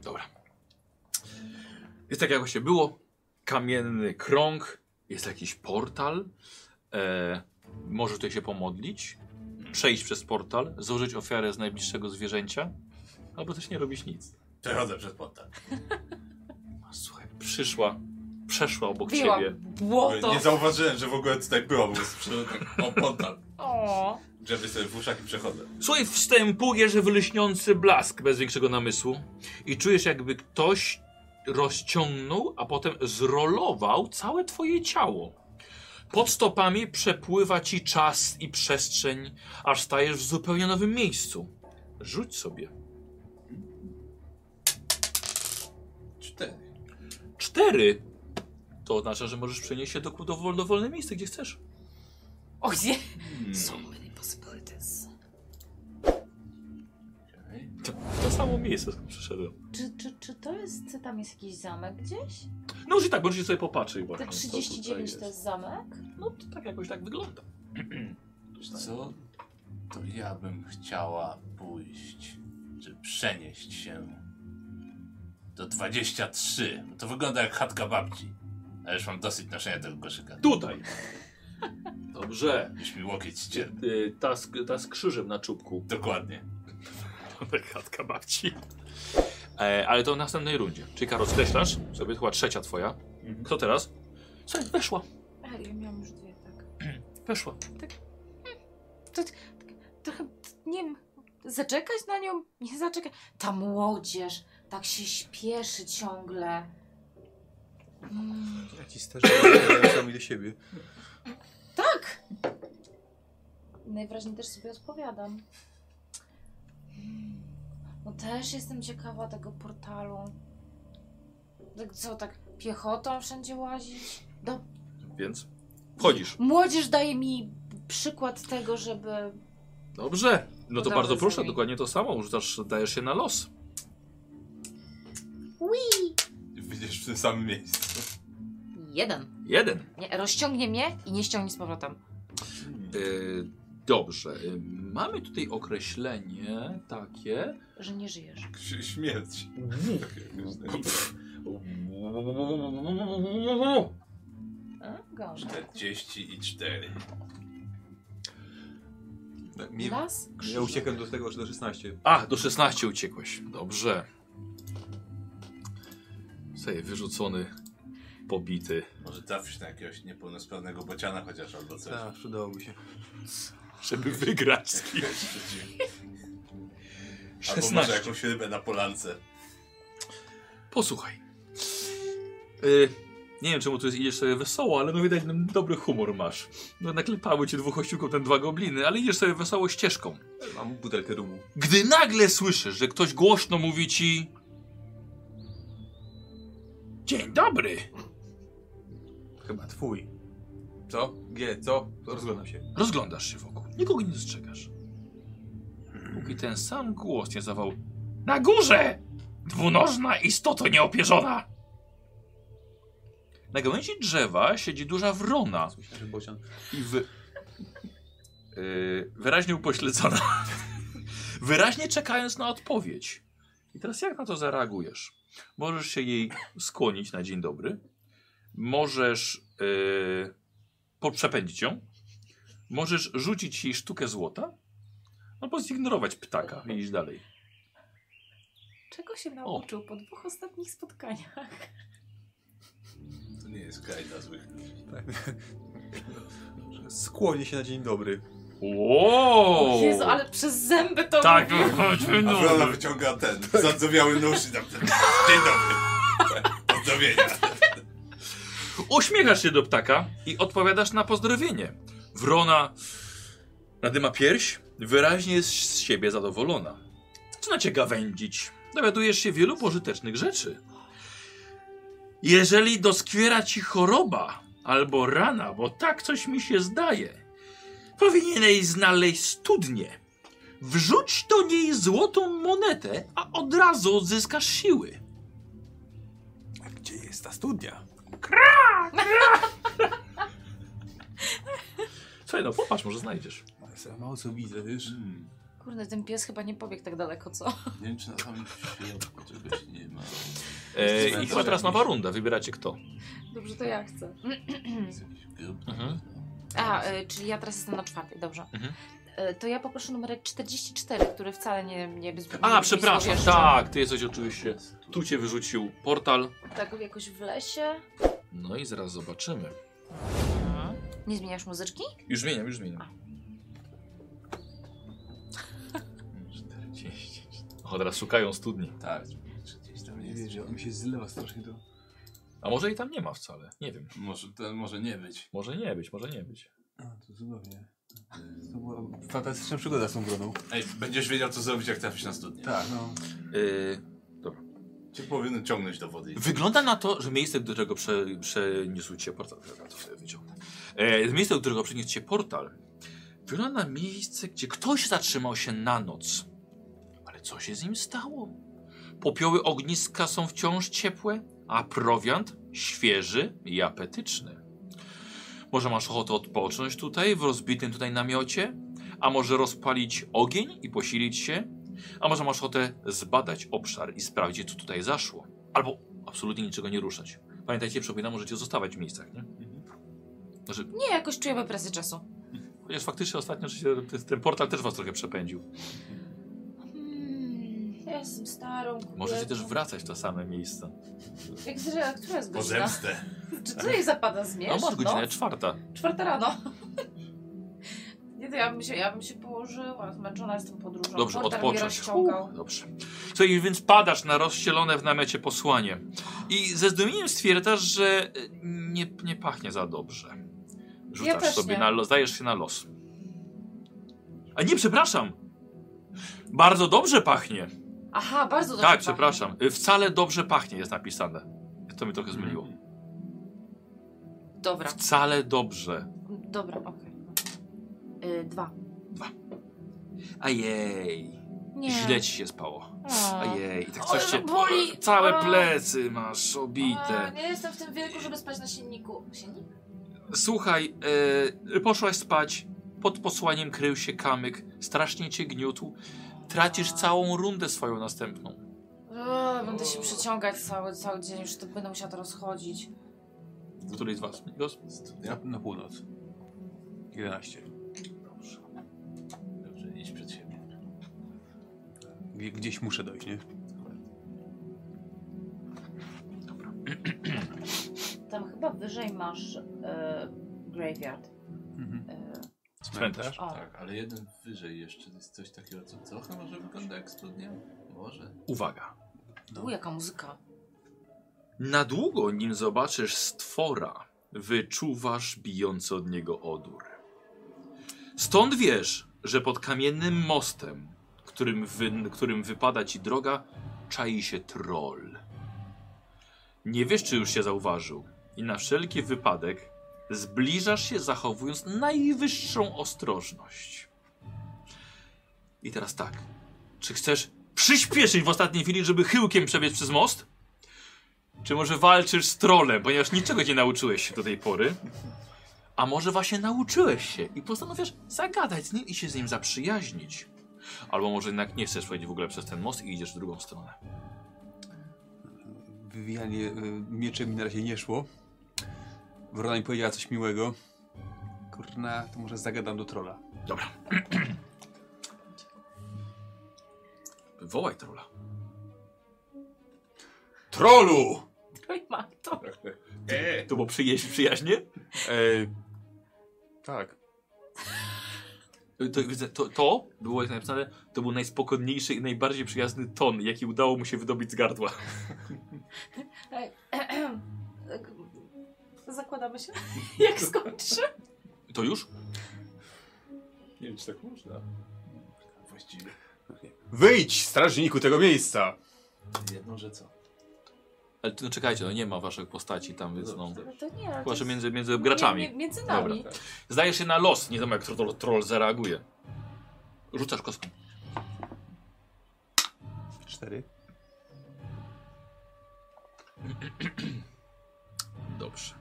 Speaker 1: Dobra. Jest tak, jak się było. Kamienny krąg, jest jakiś portal. E, może tutaj się pomodlić, przejść przez portal, złożyć ofiarę z najbliższego zwierzęcia, albo też nie robić nic.
Speaker 4: Przechodzę przez portal.
Speaker 1: A, Słuchaj, przyszła, przeszła obok
Speaker 2: Wyjęłam
Speaker 1: ciebie.
Speaker 2: błoto.
Speaker 5: Nie zauważyłem, że w ogóle tutaj była, bo przyszedłem tak o portal.
Speaker 2: O,
Speaker 5: Żeby sobie w uszach i przechodzę.
Speaker 1: Słuchaj, wstępujesz w lśniący blask bez większego namysłu i czujesz jakby ktoś rozciągnął, a potem zrolował całe twoje ciało. Pod stopami przepływa ci czas i przestrzeń, aż stajesz w zupełnie nowym miejscu. Rzuć sobie.
Speaker 5: Cztery.
Speaker 1: Cztery! To oznacza, że możesz przenieść się do, do dowolne miejsce, gdzie chcesz.
Speaker 2: o gdzie?
Speaker 5: Hmm.
Speaker 2: So many possibilities.
Speaker 1: To, to samo miejsce, skąd przyszedłem.
Speaker 2: Czy, czy, czy to jest, czy tam jest jakiś zamek gdzieś?
Speaker 1: No już i tak, możecie sobie popatrzeć.
Speaker 2: Te
Speaker 1: właśnie, co tutaj
Speaker 2: 39 to
Speaker 1: jest.
Speaker 2: jest zamek?
Speaker 1: No to tak jakoś tak wygląda.
Speaker 4: Co? To ja bym chciała pójść, czy przenieść się do 23. To wygląda jak chatka babci. Ale już mam dosyć noszenia tego koszyka.
Speaker 1: Tutaj! Dobrze.
Speaker 4: Już mi łokieć ścier.
Speaker 1: Y, ta, z, ta z krzyżem na czubku.
Speaker 4: Dokładnie.
Speaker 1: Chatka babci. E, ale to w następnej rundzie. Czyli Karol, skreślasz sobie, chyba trzecia twoja. Kto teraz? Słuchaj, weszła,
Speaker 2: A, ja miałam już dwie, tak.
Speaker 1: weszła.
Speaker 2: Trochę, nie wiem, zaczekać na nią? Nie zaczekać. Ta młodzież tak się śpieszy ciągle. Mm,
Speaker 3: Ja ci starzy ludzie sami do siebie.
Speaker 2: tak! Najwyraźniej też sobie odpowiadam. Mm, No też jestem ciekawa tego portalu. Tak co, tak piechotą wszędzie łazić? Do
Speaker 1: Więc wchodzisz.
Speaker 2: Młodzież daje mi przykład tego, żeby.
Speaker 1: Dobrze. No to
Speaker 2: Udało
Speaker 1: bardzo
Speaker 2: się
Speaker 1: proszę,
Speaker 2: mi.
Speaker 1: dokładnie to samo. Rzucasz, dajesz się na los.
Speaker 5: Widzisz w tym samym miejscu.
Speaker 2: Jeden.
Speaker 1: Jeden.
Speaker 2: Nie, rozciągnie mnie i nie ściągnie z powrotem.
Speaker 1: Y, dobrze. Y, mamy tutaj określenie takie.
Speaker 2: Że nie żyjesz.
Speaker 5: Ś- Śmierć.
Speaker 2: A, Gorzej.
Speaker 4: 44.
Speaker 3: Tak, mnie,
Speaker 2: Las?
Speaker 3: ja uciekam do tego, że do 16.
Speaker 1: A, do 16 uciekłeś. Dobrze. Sobie wyrzucony, pobity.
Speaker 4: Może trafisz na jakiegoś niepełnosprawnego bociana chociaż albo coś.
Speaker 3: Tak, przydałoby się.
Speaker 1: Żeby wygrać z kimś.
Speaker 4: Albo może jakąś rybę na polance.
Speaker 1: Posłuchaj. Y, nie wiem, czemu tu jest, idziesz sobie wesoło, ale no widać, no, dobry humor masz. No naklepały cię dwóch ościuków, ten dwa gobliny, ale idziesz sobie wesoło ścieżką.
Speaker 3: Mam butelkę rumu.
Speaker 1: Gdy nagle słyszysz, że ktoś głośno mówi ci... Dzień dobry.
Speaker 3: Chyba twój. Co? G, co? To rozglądam się.
Speaker 1: Rozglądasz się wokół. Nikogo nie dostrzegasz. Póki ten sam głos nie zawał. Na górze! Dwunożna istoto nieopierzona! Na gałęzi drzewa siedzi duża wrona
Speaker 3: Myślę, że bocian.
Speaker 1: i w... Yy, wyraźnie upośledzona. wyraźnie czekając na odpowiedź. I teraz jak na to zareagujesz? Możesz się jej skłonić na dzień dobry. Możesz yy, po- przepędzić ją. Możesz rzucić jej sztukę złota. Albo zignorować ptaka i iść dalej.
Speaker 2: Czego się nauczył po dwóch ostatnich spotkaniach?
Speaker 4: To nie jest kraj dla złych ludzi.
Speaker 3: Że Skłonię się na dzień dobry.
Speaker 1: Wow!
Speaker 2: O Jezu, ale przez zęby to.
Speaker 1: Tak,
Speaker 2: mówił.
Speaker 5: A Fiona wyciąga ten zadzowiały nóż i tam ten. Dzień dobry. Pozdrowienia.
Speaker 1: Uśmiechasz się do ptaka i odpowiadasz na pozdrowienie. Wrona Nadyma pierś wyraźnie jest z siebie zadowolona. Zaczyna cię gawędzić. Dowiadujesz się wielu pożytecznych rzeczy. Jeżeli doskwiera ci choroba albo rana, bo tak coś mi się zdaje, powinieneś znaleźć studnię. Wrzuć do niej złotą monetę, a od razu odzyskasz siły.
Speaker 3: A gdzie jest ta studnia?
Speaker 1: Słuchaj, no popatrz, może znajdziesz.
Speaker 5: Ale za mało co widzę, wiesz? Hmm.
Speaker 2: Kurde, ten pies chyba nie pobiegł tak daleko, co?
Speaker 5: Nie wiem, czy na samym środku czegoś nie ma.
Speaker 1: E, I chyba teraz nowa runda, wybieracie kto.
Speaker 2: Dobrze, to ja chcę.
Speaker 5: Jest jakiś grób.
Speaker 1: Mhm.
Speaker 2: A, e, czyli ja teraz jestem na czwartej, dobrze.
Speaker 1: Mhm.
Speaker 2: E, To ja poproszę numer 44, który wcale nie... nie nie- nie-
Speaker 1: A,
Speaker 2: nie
Speaker 1: przepraszam,
Speaker 2: złowieszczał.
Speaker 1: tak, ty jesteś oczywiście. Tu cię wyrzucił portal.
Speaker 2: Tak jakoś w lesie.
Speaker 1: No i zaraz zobaczymy.
Speaker 2: Nie zmieniasz muzyczki?
Speaker 1: Już zmieniam, już zmieniam.
Speaker 5: 40.
Speaker 1: O, teraz szukają studni.
Speaker 5: Tak, 30 tam
Speaker 6: Nie
Speaker 5: jest.
Speaker 6: wierzę, on mi się zlewa strasznie do...
Speaker 1: A może i tam nie ma wcale, nie wiem.
Speaker 5: Może, to może nie być.
Speaker 1: Może nie być, może nie być.
Speaker 6: A, to cudownie. To była fantastyczna przygoda z tą brodą.
Speaker 5: Ej, będziesz wiedział co zrobić jak trafisz na studnię.
Speaker 6: Tak, no.
Speaker 1: Yy,
Speaker 5: Cię powinno ciągnąć do wody.
Speaker 1: wygląda na to, że miejsce, do którego prze, przeniósł cię portal... Dobra, to sobie wyciągnę. E, miejsce, do którego przeniósł cię portal, wygląda na miejsce, gdzie ktoś zatrzymał się na noc. Ale co się z nim stało? Popioły ogniska są wciąż ciepłe, a prowiant świeży i apetyczny. Może masz ochotę odpocząć tutaj, w rozbitym tutaj namiocie? A może rozpalić ogień i posilić się? A może masz ochotę zbadać obszar i sprawdzić, co tutaj zaszło? Albo absolutnie niczego nie ruszać. Pamiętajcie, przypominam, możecie zostawać w miejscach, nie? Znaczy,
Speaker 2: Nie, jakoś czujemy presję czasu.
Speaker 1: chociaż faktycznie ostatnio że się, ten- ten portal też was trochę przepędził.
Speaker 2: Hmm, ja jestem starą kobietą.
Speaker 1: Możecie też wracać w to same No, miejsce.
Speaker 2: Jak zre, która jest
Speaker 5: Po
Speaker 2: godzina?
Speaker 5: zemstę.
Speaker 2: Czy co jej zapada
Speaker 1: No
Speaker 2: zmierz?
Speaker 1: masz godzinę czwarta.
Speaker 2: Czwarta rano. Nie, to ja bym się, ja bym się położyła, zmęczona jestem podróżą.
Speaker 1: Dobrze,
Speaker 2: No, Portal mnie
Speaker 1: odpocząć.
Speaker 2: rozciągał.
Speaker 1: Uch, Dobrze. Słuchaj, więc padasz na rozcielone w namiocie posłanie. I ze zdumieniem stwierdzasz, że y, nie, nie pachnie za dobrze. Rzucasz
Speaker 2: też
Speaker 1: sobie
Speaker 2: nie.
Speaker 1: na los, dajesz się na los. A nie, przepraszam! Bardzo dobrze pachnie.
Speaker 2: Aha, bardzo dobrze.
Speaker 1: tak,
Speaker 2: pachnie.
Speaker 1: przepraszam. Y, Wcale dobrze pachnie jest napisane. To mi trochę zmyliło.
Speaker 2: Mhm. Dobra,
Speaker 1: Wcale dobrze.
Speaker 2: dobra, okej. Y, dwa.
Speaker 1: Ajej.
Speaker 2: Nie.
Speaker 1: Źle ci się spało.
Speaker 2: O.
Speaker 1: Ajej. I tak
Speaker 2: O,
Speaker 1: coś cię...
Speaker 2: ale boli.
Speaker 1: Całe
Speaker 2: A.
Speaker 1: plecy masz
Speaker 2: A,
Speaker 1: obite.
Speaker 2: nie jestem w tym wieku, żeby spać na silniku. Silnik?
Speaker 1: Słuchaj, e, poszłaś spać, pod posłaniem krył się kamyk, strasznie cię gniótł, tracisz całą rundę swoją następną.
Speaker 2: O, będę się przeciągać cały, cały dzień, już to będę musiała to rozchodzić.
Speaker 1: Której z was? Migos?
Speaker 6: Na, na północ. 11.
Speaker 5: Dobrze, idź przed siebie.
Speaker 6: Gdzie, gdzieś muszę dojść, nie?
Speaker 2: Tam chyba wyżej masz e, graveyard.
Speaker 6: Mhm.
Speaker 2: E,
Speaker 1: Cmentarz.
Speaker 2: o,
Speaker 5: Tak, ale jeden wyżej jeszcze jest coś takiego, co trochę może wygląda jak studnia. Może.
Speaker 1: Uwaga.
Speaker 2: u, jaka muzyka.
Speaker 1: Na długo, nim zobaczysz stwora, wyczuwasz bijący od niego odór. Stąd wiesz, że pod kamiennym mostem, którym, wy, którym wypada ci droga, czai się troll. Nie wiesz, czy już się zauważył, i na wszelki wypadek zbliżasz się, zachowując najwyższą ostrożność. I teraz tak. Czy chcesz przyspieszyć w ostatniej chwili, żeby chyłkiem przebiec przez most? Czy może walczysz z trolem, ponieważ niczego nie nauczyłeś się do tej pory? A może właśnie nauczyłeś się i postanowisz zagadać z nim i się z nim zaprzyjaźnić? Albo może jednak nie chcesz przejść w ogóle przez ten most i idziesz w drugą stronę.
Speaker 6: Wywijanie y, mieczem mi na razie nie szło. Wrona mi powiedziała coś miłego. Kurna, to może zagadam do trola.
Speaker 1: Dobra. Wołaj trola.
Speaker 6: Trolu!
Speaker 2: Oj, ma to.
Speaker 5: Eee!
Speaker 1: To było przyjaźń, przyjaźnie?
Speaker 6: E, tak.
Speaker 1: To, widzę, to, to było jak napisane, to był najspokojniejszy i najbardziej przyjazny ton, jaki udało mu się wydobyć z gardła.
Speaker 2: Zakładamy się, jak skończy.
Speaker 1: To już?
Speaker 5: Nie wiem, czy tak można. Właściwie.
Speaker 6: Wyjdź, strażniku tego miejsca!
Speaker 5: Jedno, że co?
Speaker 1: Ale no, czekajcie, no nie ma waszych postaci tam, więc no.
Speaker 2: No to nie, ale to
Speaker 1: Chyba, że
Speaker 2: jest-
Speaker 1: między, między graczami.
Speaker 2: Mie- między nami.
Speaker 1: Dobra. Zdajesz się na los, nie wiem jak troll, troll zareaguje. Rzucasz kostką.
Speaker 6: Cztery.
Speaker 1: Dobrze.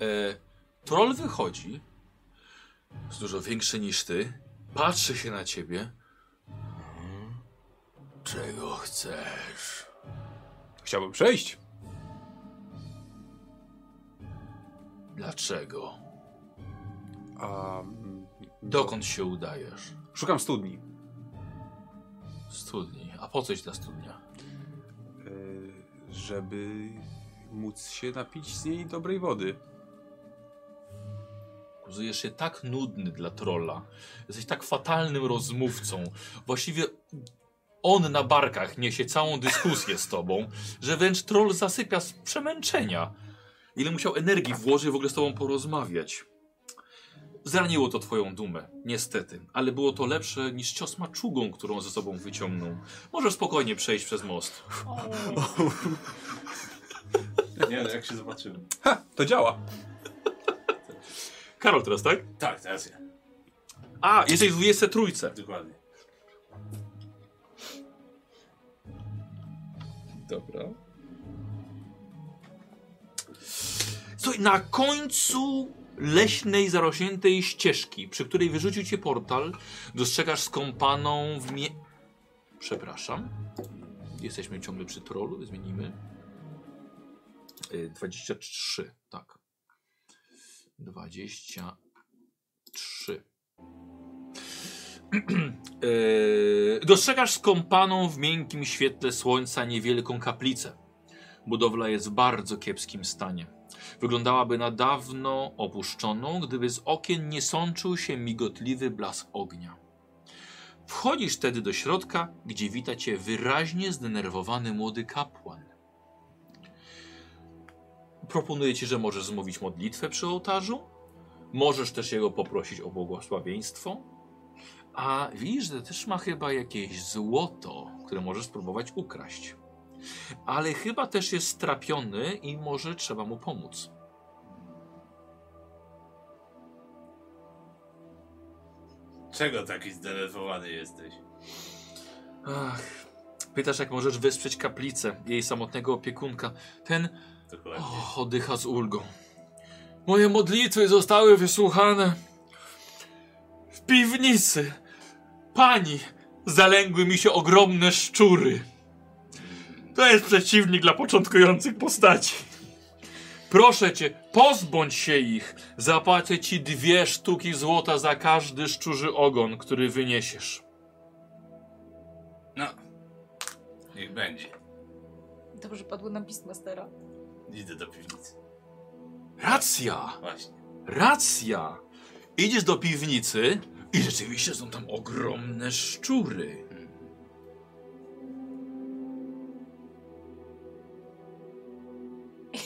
Speaker 1: E, troll wychodzi, jest dużo większy niż ty, patrzy się na ciebie. Czego chcesz?
Speaker 6: Chciałbym przejść.
Speaker 1: Dlaczego?
Speaker 6: A, mm,
Speaker 1: Dokąd się udajesz?
Speaker 6: Szukam studni. e,
Speaker 1: Studni. A po coś ta studnia?
Speaker 6: Yy, żeby móc się napić z niej dobrej wody.
Speaker 1: Okazujesz się tak nudny dla trolla. Jesteś tak fatalnym rozmówcą. Właściwie on na barkach niesie całą dyskusję z tobą, że wręcz troll zasypia z przemęczenia. Ile musiał energii włożyć w ogóle z tobą porozmawiać. Zraniło to twoją dumę, niestety, ale było to lepsze niż cios maczugą, którą ze sobą wyciągnął. Możesz spokojnie przejść przez most.
Speaker 5: Nie, no jak się zobaczymy.
Speaker 6: To działa.
Speaker 1: Karol teraz, tak?
Speaker 5: Tak, teraz ja.
Speaker 1: A, jesteś w 23.
Speaker 5: Dokładnie.
Speaker 1: Dobra. Słuchaj, na końcu leśnej, zarośniętej ścieżki, przy której wyrzucił cię portal, dostrzegasz skąpaną w mie... Przepraszam. Jesteśmy ciągle przy trollu, zmienimy. Y, 23, tak. 23. Yy, dostrzegasz skąpaną w miękkim świetle słońca niewielką kaplicę. Budowla jest w bardzo kiepskim stanie. Wyglądałaby na dawno opuszczoną, gdyby z okien nie sączył się migotliwy blask ognia. Wchodzisz tedy do środka, gdzie wita cię wyraźnie zdenerwowany młody kapłan. Proponuję ci, że możesz zmówić modlitwę przy ołtarzu. Możesz też jego poprosić o błogosławieństwo. A widzisz, że też ma chyba jakieś złoto, które możesz spróbować ukraść. Ale chyba też jest strapiony i może trzeba mu pomóc.
Speaker 5: Czego taki zdenerwowany jesteś?
Speaker 1: Ach, pytasz, jak możesz wesprzeć kaplicę, jej samotnego opiekunka. Ten
Speaker 5: Dokładnie.
Speaker 1: o, oddycha z ulgą. Moje modlitwy zostały wysłuchane w piwnicy. Pani, zalęgły mi się ogromne szczury. To jest przeciwnik dla początkujących postaci. Proszę cię, pozbądź się ich. Zapłacę ci dwie sztuki złota za każdy szczurzy ogon, który wyniesiesz.
Speaker 5: No. Niech będzie.
Speaker 2: Dobrze, padło nam Beastmastera.
Speaker 5: Idę do piwnicy.
Speaker 1: Racja!
Speaker 5: Właśnie.
Speaker 1: Racja! Idziesz do piwnicy i rzeczywiście są tam ogromne szczury.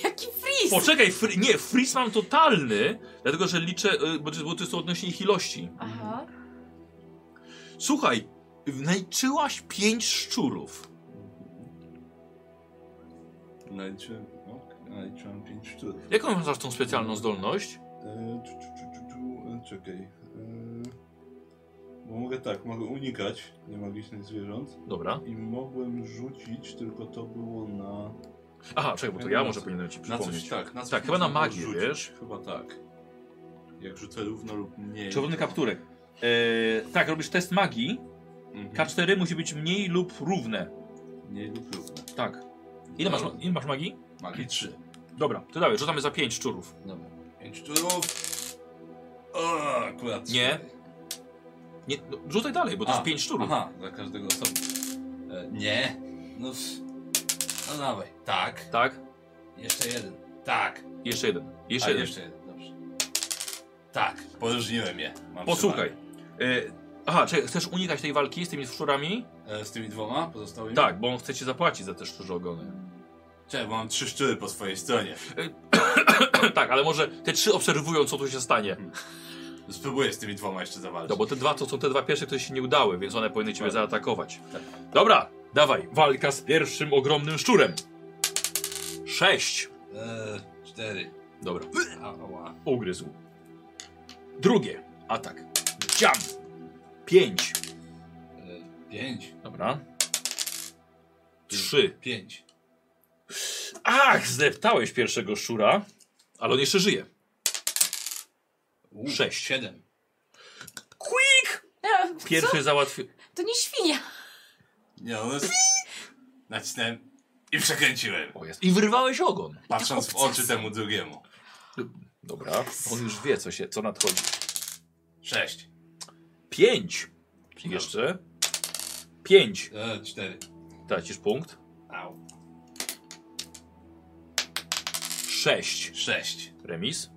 Speaker 2: Jaki freeze!
Speaker 1: Poczekaj, fri- nie, freeze mam totalny, dlatego że liczę, y, bo to- bo to jest odnośnie ich ilości.
Speaker 2: Aha.
Speaker 1: Słuchaj, najczyłaś pięć szczurów.
Speaker 5: Naliczyłem, ok, naliczyłem 5 sztuk.
Speaker 1: Jaką masz tą specjalną zdolność?
Speaker 5: E, tu, tu, tu, tu, tu, e, czekaj. E, bo mogę tak, mogę unikać niemagicznych zwierząt.
Speaker 1: Dobra.
Speaker 5: I mogłem rzucić, tylko to było na.
Speaker 1: Aha, czekaj, bo to ja może powinienem ci
Speaker 5: Na coś
Speaker 1: przypomnieć.
Speaker 5: tak, na coś
Speaker 1: Tak, chyba na
Speaker 5: można było
Speaker 1: magię,
Speaker 5: rzucić.
Speaker 1: wiesz?
Speaker 5: Chyba tak. Jak rzucę równo lub mniej.
Speaker 1: Czerwony
Speaker 5: to-
Speaker 1: kapturek. E, tak, robisz test magii.
Speaker 5: Mhm.
Speaker 1: K4 musi być mniej lub równe.
Speaker 5: Mniej lub równo.
Speaker 1: Tak. Ile masz, ile masz magii?
Speaker 5: Magii 3.
Speaker 1: Dobra, to dawaj, rzucamy za pięć szczurów.
Speaker 5: Dobra. 5 turów. O, akurat.
Speaker 1: Nie. Nie, no, rzucaj dalej, bo to
Speaker 5: A,
Speaker 1: jest pięć szczurów.
Speaker 5: Aha, dla każdego osobno. E, nie. No, s- no dawaj. Tak.
Speaker 1: Tak?
Speaker 5: Jeszcze jeden. Tak.
Speaker 1: Jeszcze jeden. Jeszcze
Speaker 5: A,
Speaker 1: jeden.
Speaker 5: jeszcze jeden, dobrze. Tak, poróżniłem je. Mam
Speaker 1: Posłuchaj. E, aha, czy chcesz unikać tej walki z tymi szczurami?
Speaker 5: przewagę. E, Z tymi dwoma pozostałymi?
Speaker 1: Tak, bo on chce ci zapłacić za te szczurze ogony.
Speaker 5: Czekaj, bo mam trzy szczury po swojej stronie.
Speaker 1: tak, ale może te trzy obserwują, co tu się stanie.
Speaker 4: Spróbuję z tymi dwoma jeszcze zawalczyć.
Speaker 1: No bo te dwa to są te dwa pierwsze, które się nie udały, więc one powinny ciebie zaatakować.
Speaker 4: Tak.
Speaker 1: Dobra, dawaj, walka z pierwszym ogromnym szczurem. Sześć.
Speaker 4: Eee, cztery.
Speaker 1: Dobra,
Speaker 4: A, Ała.
Speaker 1: ugryzł. Drugie, atak. Dziam. Pięć.
Speaker 4: Eee, pięć.
Speaker 1: Dobra. Trzy.
Speaker 4: Pięć.
Speaker 1: Ach, zdeptałeś pierwszego szczura, ale on jeszcze żyje.
Speaker 4: U,
Speaker 1: Sześć.
Speaker 4: Siedem.
Speaker 2: E, Co?
Speaker 1: Pierwszy załatwił.
Speaker 2: To nie świnia.
Speaker 4: Nie, on jest... Nacisnąłem i przekręciłem.
Speaker 1: O jest. I wyrwałeś ogon.
Speaker 4: Patrząc w oczy temu drugiemu.
Speaker 1: Dobra, on już wie, co, się, co nadchodzi.
Speaker 4: Sześć.
Speaker 1: Pięć. Jeszcze. Pięć.
Speaker 4: Eee, cztery.
Speaker 1: Tracisz punkt.
Speaker 4: Au.
Speaker 1: Sześć.
Speaker 4: Sześć.
Speaker 1: Remis.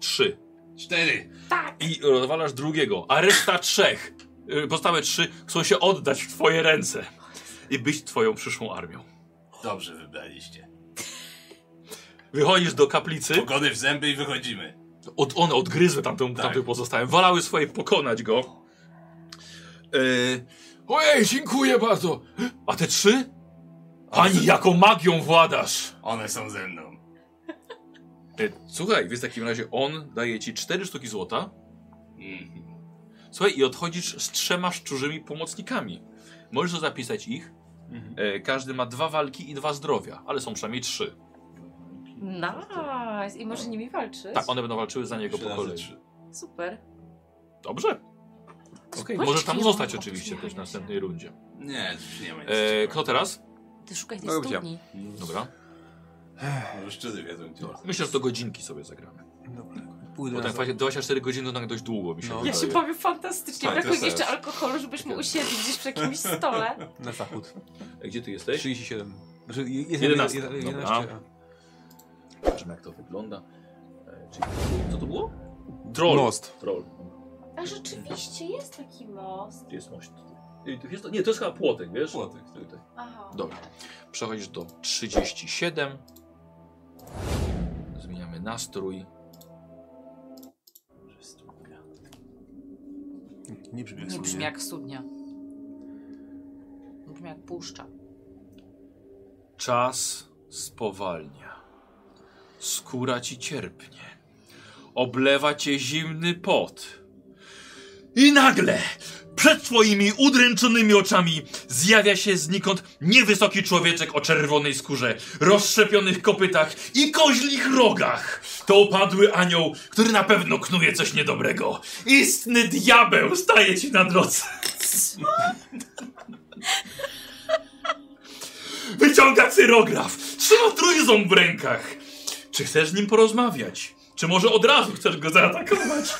Speaker 1: Trzy.
Speaker 4: Cztery.
Speaker 1: I rozwalasz drugiego, a reszta trzech, y, pozostałe trzy, chcą się oddać w twoje ręce i być twoją przyszłą armią.
Speaker 4: Dobrze wybraliście.
Speaker 1: Wychodzisz do kaplicy,
Speaker 4: Pogony w zęby i wychodzimy.
Speaker 1: od, one odgryzły tamtą,
Speaker 4: Tak.
Speaker 1: tamtych pozostałym, walały swoje pokonać go. Yy, Ojej, dziękuję bardzo! A te trzy? Pani, jaką magią władasz!
Speaker 4: One są ze mną.
Speaker 1: Y, Słuchaj, więc w takim razie on daje ci cztery sztuki złota,
Speaker 4: Mm.
Speaker 1: Słuchaj, i odchodzisz z trzema szczurzymi pomocnikami. Możesz to zapisać ich. E, każdy ma dwa walki i dwa zdrowia, ale są przynajmniej trzy.
Speaker 2: Nice. I może nimi walczysz?
Speaker 1: Tak, one będą walczyły za niego
Speaker 5: Trzy
Speaker 1: po
Speaker 5: razy
Speaker 1: kolei.
Speaker 5: trzy.
Speaker 2: Dobrze.
Speaker 1: Dobrze. Okay. Możesz tam zostać oczywiście też w następnej rundzie.
Speaker 4: Nie, już nie ma nic
Speaker 1: E,
Speaker 4: ciekawego.
Speaker 1: kto teraz?
Speaker 2: Ty szukaj tej
Speaker 6: No, gdzie?
Speaker 2: studni.
Speaker 1: Dobra.
Speaker 5: Może szczery wiedzą gdzie.
Speaker 1: Myślę, że to godzinki sobie zagramy.
Speaker 6: Dobra, pójdę
Speaker 1: Bo
Speaker 6: na
Speaker 1: ten
Speaker 6: za...
Speaker 1: fajnie 24 godziny to nawet dość długo mi się
Speaker 6: No.
Speaker 1: wydaje.
Speaker 2: Ja się bawię fantastycznie.
Speaker 5: Tak,
Speaker 2: Brakuje
Speaker 5: to
Speaker 2: mi jeszcze
Speaker 5: też.
Speaker 2: alkoholu, żebyśmy usiedli gdzieś przy jakimś stole.
Speaker 6: na zachód.
Speaker 1: E, Gdzie ty jesteś?
Speaker 6: 37. Znaczy, jest
Speaker 1: 11.
Speaker 6: 11. 11.
Speaker 1: Dobra. Zobaczymy jak to wygląda. E, czyli... Co to było? Troll.
Speaker 6: Most.
Speaker 1: Troll.
Speaker 2: A rzeczywiście jest taki most.
Speaker 1: Gdzie jest mość? Nie, to jest chyba płotek, wiesz?
Speaker 5: Płotek, tak.
Speaker 2: Aha.
Speaker 1: Dobra. Przechodzisz do 37. Zmieniamy nastrój.
Speaker 6: Nie brzmi jak
Speaker 2: Nie brzmi
Speaker 6: studnia.
Speaker 2: jak studnia. Brzmi jak puszcza.
Speaker 1: Czas spowalnia. Skóra ci cierpnie. Oblewa cię zimny pot. I nagle przed twoimi udręczonymi oczami zjawia się znikąd niewysoki człowieczek o czerwonej skórze, rozszczepionych kopytach i koźlich rogach. To upadły anioł, który na pewno knuje coś niedobrego. Istny diabeł staje ci na drodze. Wyciąga cyrograf, trzyma trójząb w rękach. Czy chcesz z nim porozmawiać? Czy może od razu chcesz go zaatakować?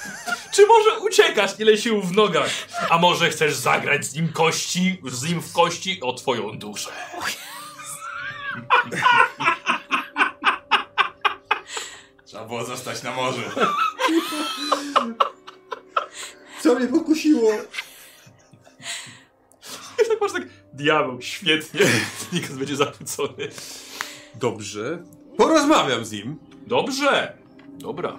Speaker 1: Czy może uciekasz ile sił w nogach? A może chcesz zagrać z nim kości, z nim w kości o twoją duszę?
Speaker 4: Trzeba było zostać na morzu.
Speaker 5: Co mnie pokusiło?
Speaker 1: I tak masz tak, diabeł, świetnie. Nikt będzie zachwycony.
Speaker 6: Dobrze. Porozmawiam z nim.
Speaker 1: Dobrze, dobra.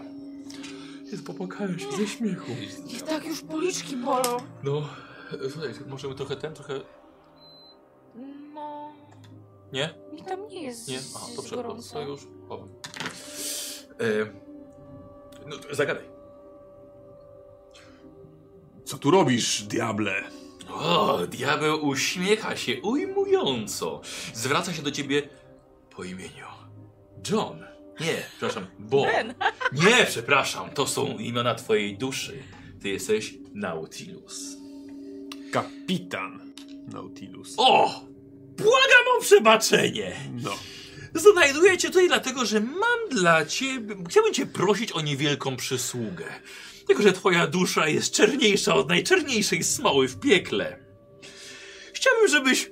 Speaker 1: Jest, popłakałem się ze śmiechu.
Speaker 2: I tak już policzki bolą.
Speaker 1: No, e, słuchaj, możemy trochę ten, trochę...
Speaker 2: No...
Speaker 1: Nie?
Speaker 2: Mi tam nie jest
Speaker 1: Nie?
Speaker 2: z-
Speaker 1: A,
Speaker 2: z
Speaker 1: dobrze, to,
Speaker 2: gorąco.
Speaker 1: to już chowam. E, no, to zagadaj.
Speaker 6: Co tu robisz, diable?
Speaker 1: O, diabeł uśmiecha się ujmująco. Zwraca się do ciebie po imieniu. John. Nie, przepraszam, Bo.
Speaker 2: Ben.
Speaker 1: Nie, przepraszam, to są imiona twojej duszy. Ty jesteś Nautilus.
Speaker 6: Kapitan Nautilus.
Speaker 1: O! Błagam o przebaczenie!
Speaker 6: No.
Speaker 1: Znajduję cię tutaj dlatego, że mam dla ciebie... Chciałbym cię prosić o niewielką przysługę. Tylko, że twoja dusza jest czerniejsza od najczerniejszej smoły w piekle. Chciałbym, żebyś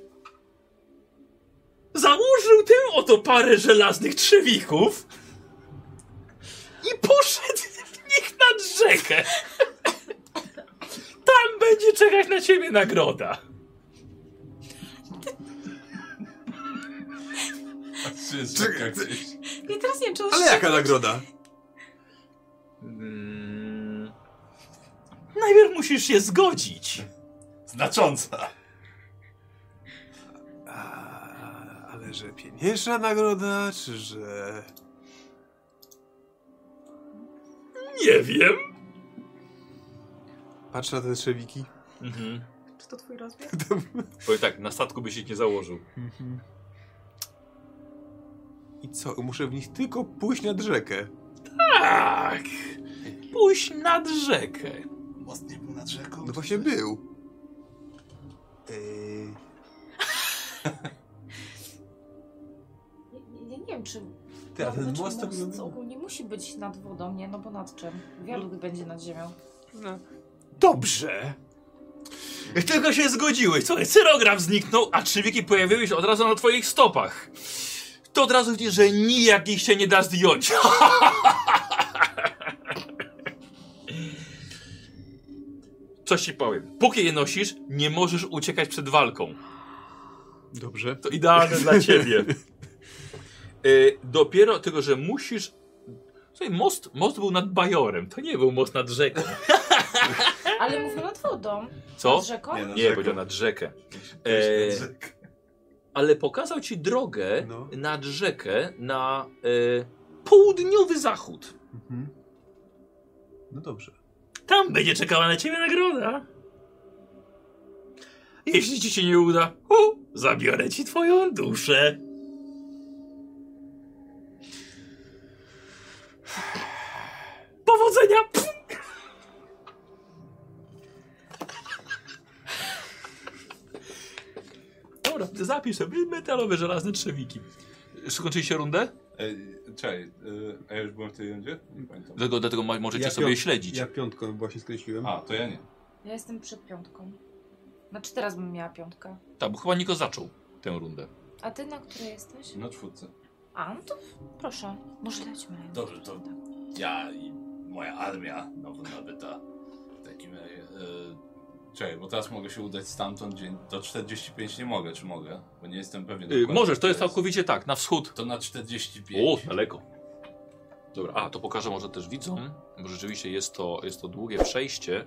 Speaker 1: założył tę oto parę żelaznych trzewików i poszedł w nich nad rzekę. Tam będzie czekać na ciebie nagroda.
Speaker 5: Czekaj,
Speaker 2: Ja teraz nie wiem, czy on
Speaker 6: Ale
Speaker 2: się-
Speaker 6: jaka nagroda?
Speaker 1: Mm, najpierw musisz się zgodzić.
Speaker 4: Znacząca.
Speaker 6: A, ale że pieniężna nagroda, czy że...
Speaker 1: Nie wiem.
Speaker 6: Patrz na te trzewiki.
Speaker 1: Mhm.
Speaker 7: Czy to twój rozmiar?
Speaker 1: Powiem tak, na statku by się nie założył.
Speaker 6: I co? Muszę w nich tylko pójść nad rzekę.
Speaker 1: Tak. Pójść nad rzekę.
Speaker 5: Most nie był nad rzeką?
Speaker 6: No właśnie był. Eee,
Speaker 2: Ja, ja nie wiem, czy
Speaker 3: Ty, a ten
Speaker 2: Znaczy,
Speaker 3: most to
Speaker 2: most
Speaker 3: wygląda...
Speaker 2: ogólnie musi być nad wodą, nie? No bo nad czym? Wiadukt będzie nad ziemią.
Speaker 1: Dobrze. Jak tylko się zgodziłeś, słuchaj, cyrograf zniknął, a trzywiki pojawiły się od razu na twoich stopach. To od razu widzisz, że nijak ich się nie da zdjąć. Coś ci powiem. Póki je nosisz, nie możesz uciekać przed walką.
Speaker 6: Dobrze.
Speaker 1: To idealne dla ciebie. Y, dopiero tylko, że musisz. Słuchaj, most, most był nad Bajorem. To nie był most nad rzeką.
Speaker 2: Ale mówię nad wodą.
Speaker 1: Co?
Speaker 2: Nad rzeką?
Speaker 5: nad
Speaker 1: Nie,
Speaker 5: rzeką.
Speaker 1: powiedział nad rzekę.
Speaker 5: Pójść nad
Speaker 1: E,
Speaker 5: rzekę.
Speaker 1: ale pokazał ci drogę
Speaker 6: No.
Speaker 1: nad rzekę na e, południowy zachód.
Speaker 6: Mhm. No dobrze.
Speaker 1: Tam będzie czekała na ciebie nagroda. Jeśli ci się nie uda, o, zabiorę ci twoją duszę. Powodzenia! Pff, Dobra, zapisz sobie metalowe, żelazne trzewiki. Skończyliście rundę?
Speaker 5: Ej, czekaj, e, a ja już byłem w tej rundzie? Nie pamiętam.
Speaker 1: Dlatego, dlatego ma- możecie
Speaker 3: Ja
Speaker 1: sobie
Speaker 3: piąt-
Speaker 1: śledzić.
Speaker 3: Ja piątką właśnie skreśliłem.
Speaker 5: A, to ja nie.
Speaker 2: Ja jestem przed piątką. Znaczy teraz bym miała piątkę.
Speaker 1: Tak, bo chyba Niko zaczął tę rundę.
Speaker 2: A ty na której jesteś?
Speaker 5: Na czwórce.
Speaker 2: A, no to proszę. Może lećmy.
Speaker 4: Dobrze, to ja i moja armia nowo nabyta. W takim razie. e, czekaj, bo teraz mogę się udać stamtąd dzień. Do 45 nie mogę, czy mogę? Bo nie jestem pewien.
Speaker 1: Yy,
Speaker 4: dokładnie,
Speaker 1: możesz, to
Speaker 4: co
Speaker 1: jest całkowicie tak, na wschód.
Speaker 4: To na 45.
Speaker 1: O, daleko. Mhm. Dobra, a to pokażę może też widzom, bo rzeczywiście jest to, jest to długie przejście.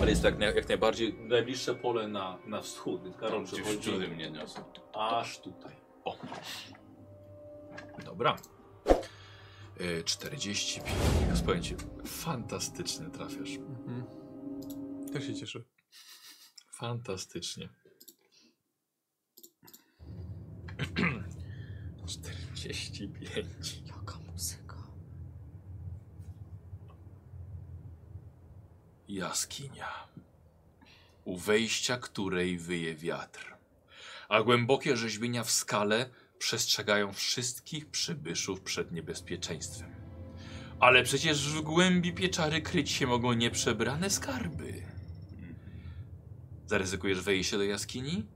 Speaker 1: Ale jest tak jak, jak najbardziej najbliższe pole na, na wschód, więc Karol
Speaker 4: Karol, gdzie
Speaker 1: przechodzi
Speaker 4: szczury mnie niosą.
Speaker 1: aż tutaj. O. Dobra. Yy, 45. Powiem ci, fantastycznie trafiasz.
Speaker 6: Mhm. Też się cieszę.
Speaker 1: Fantastycznie. 45.
Speaker 2: Jaka muzyka.
Speaker 1: Jaskinia. U wejścia której wyje wiatr. A głębokie rzeźbienia w skale przestrzegają wszystkich przybyszów przed niebezpieczeństwem. Ale przecież w głębi pieczary kryć się mogą nieprzebrane skarby. Zaryzykujesz wejście do jaskini?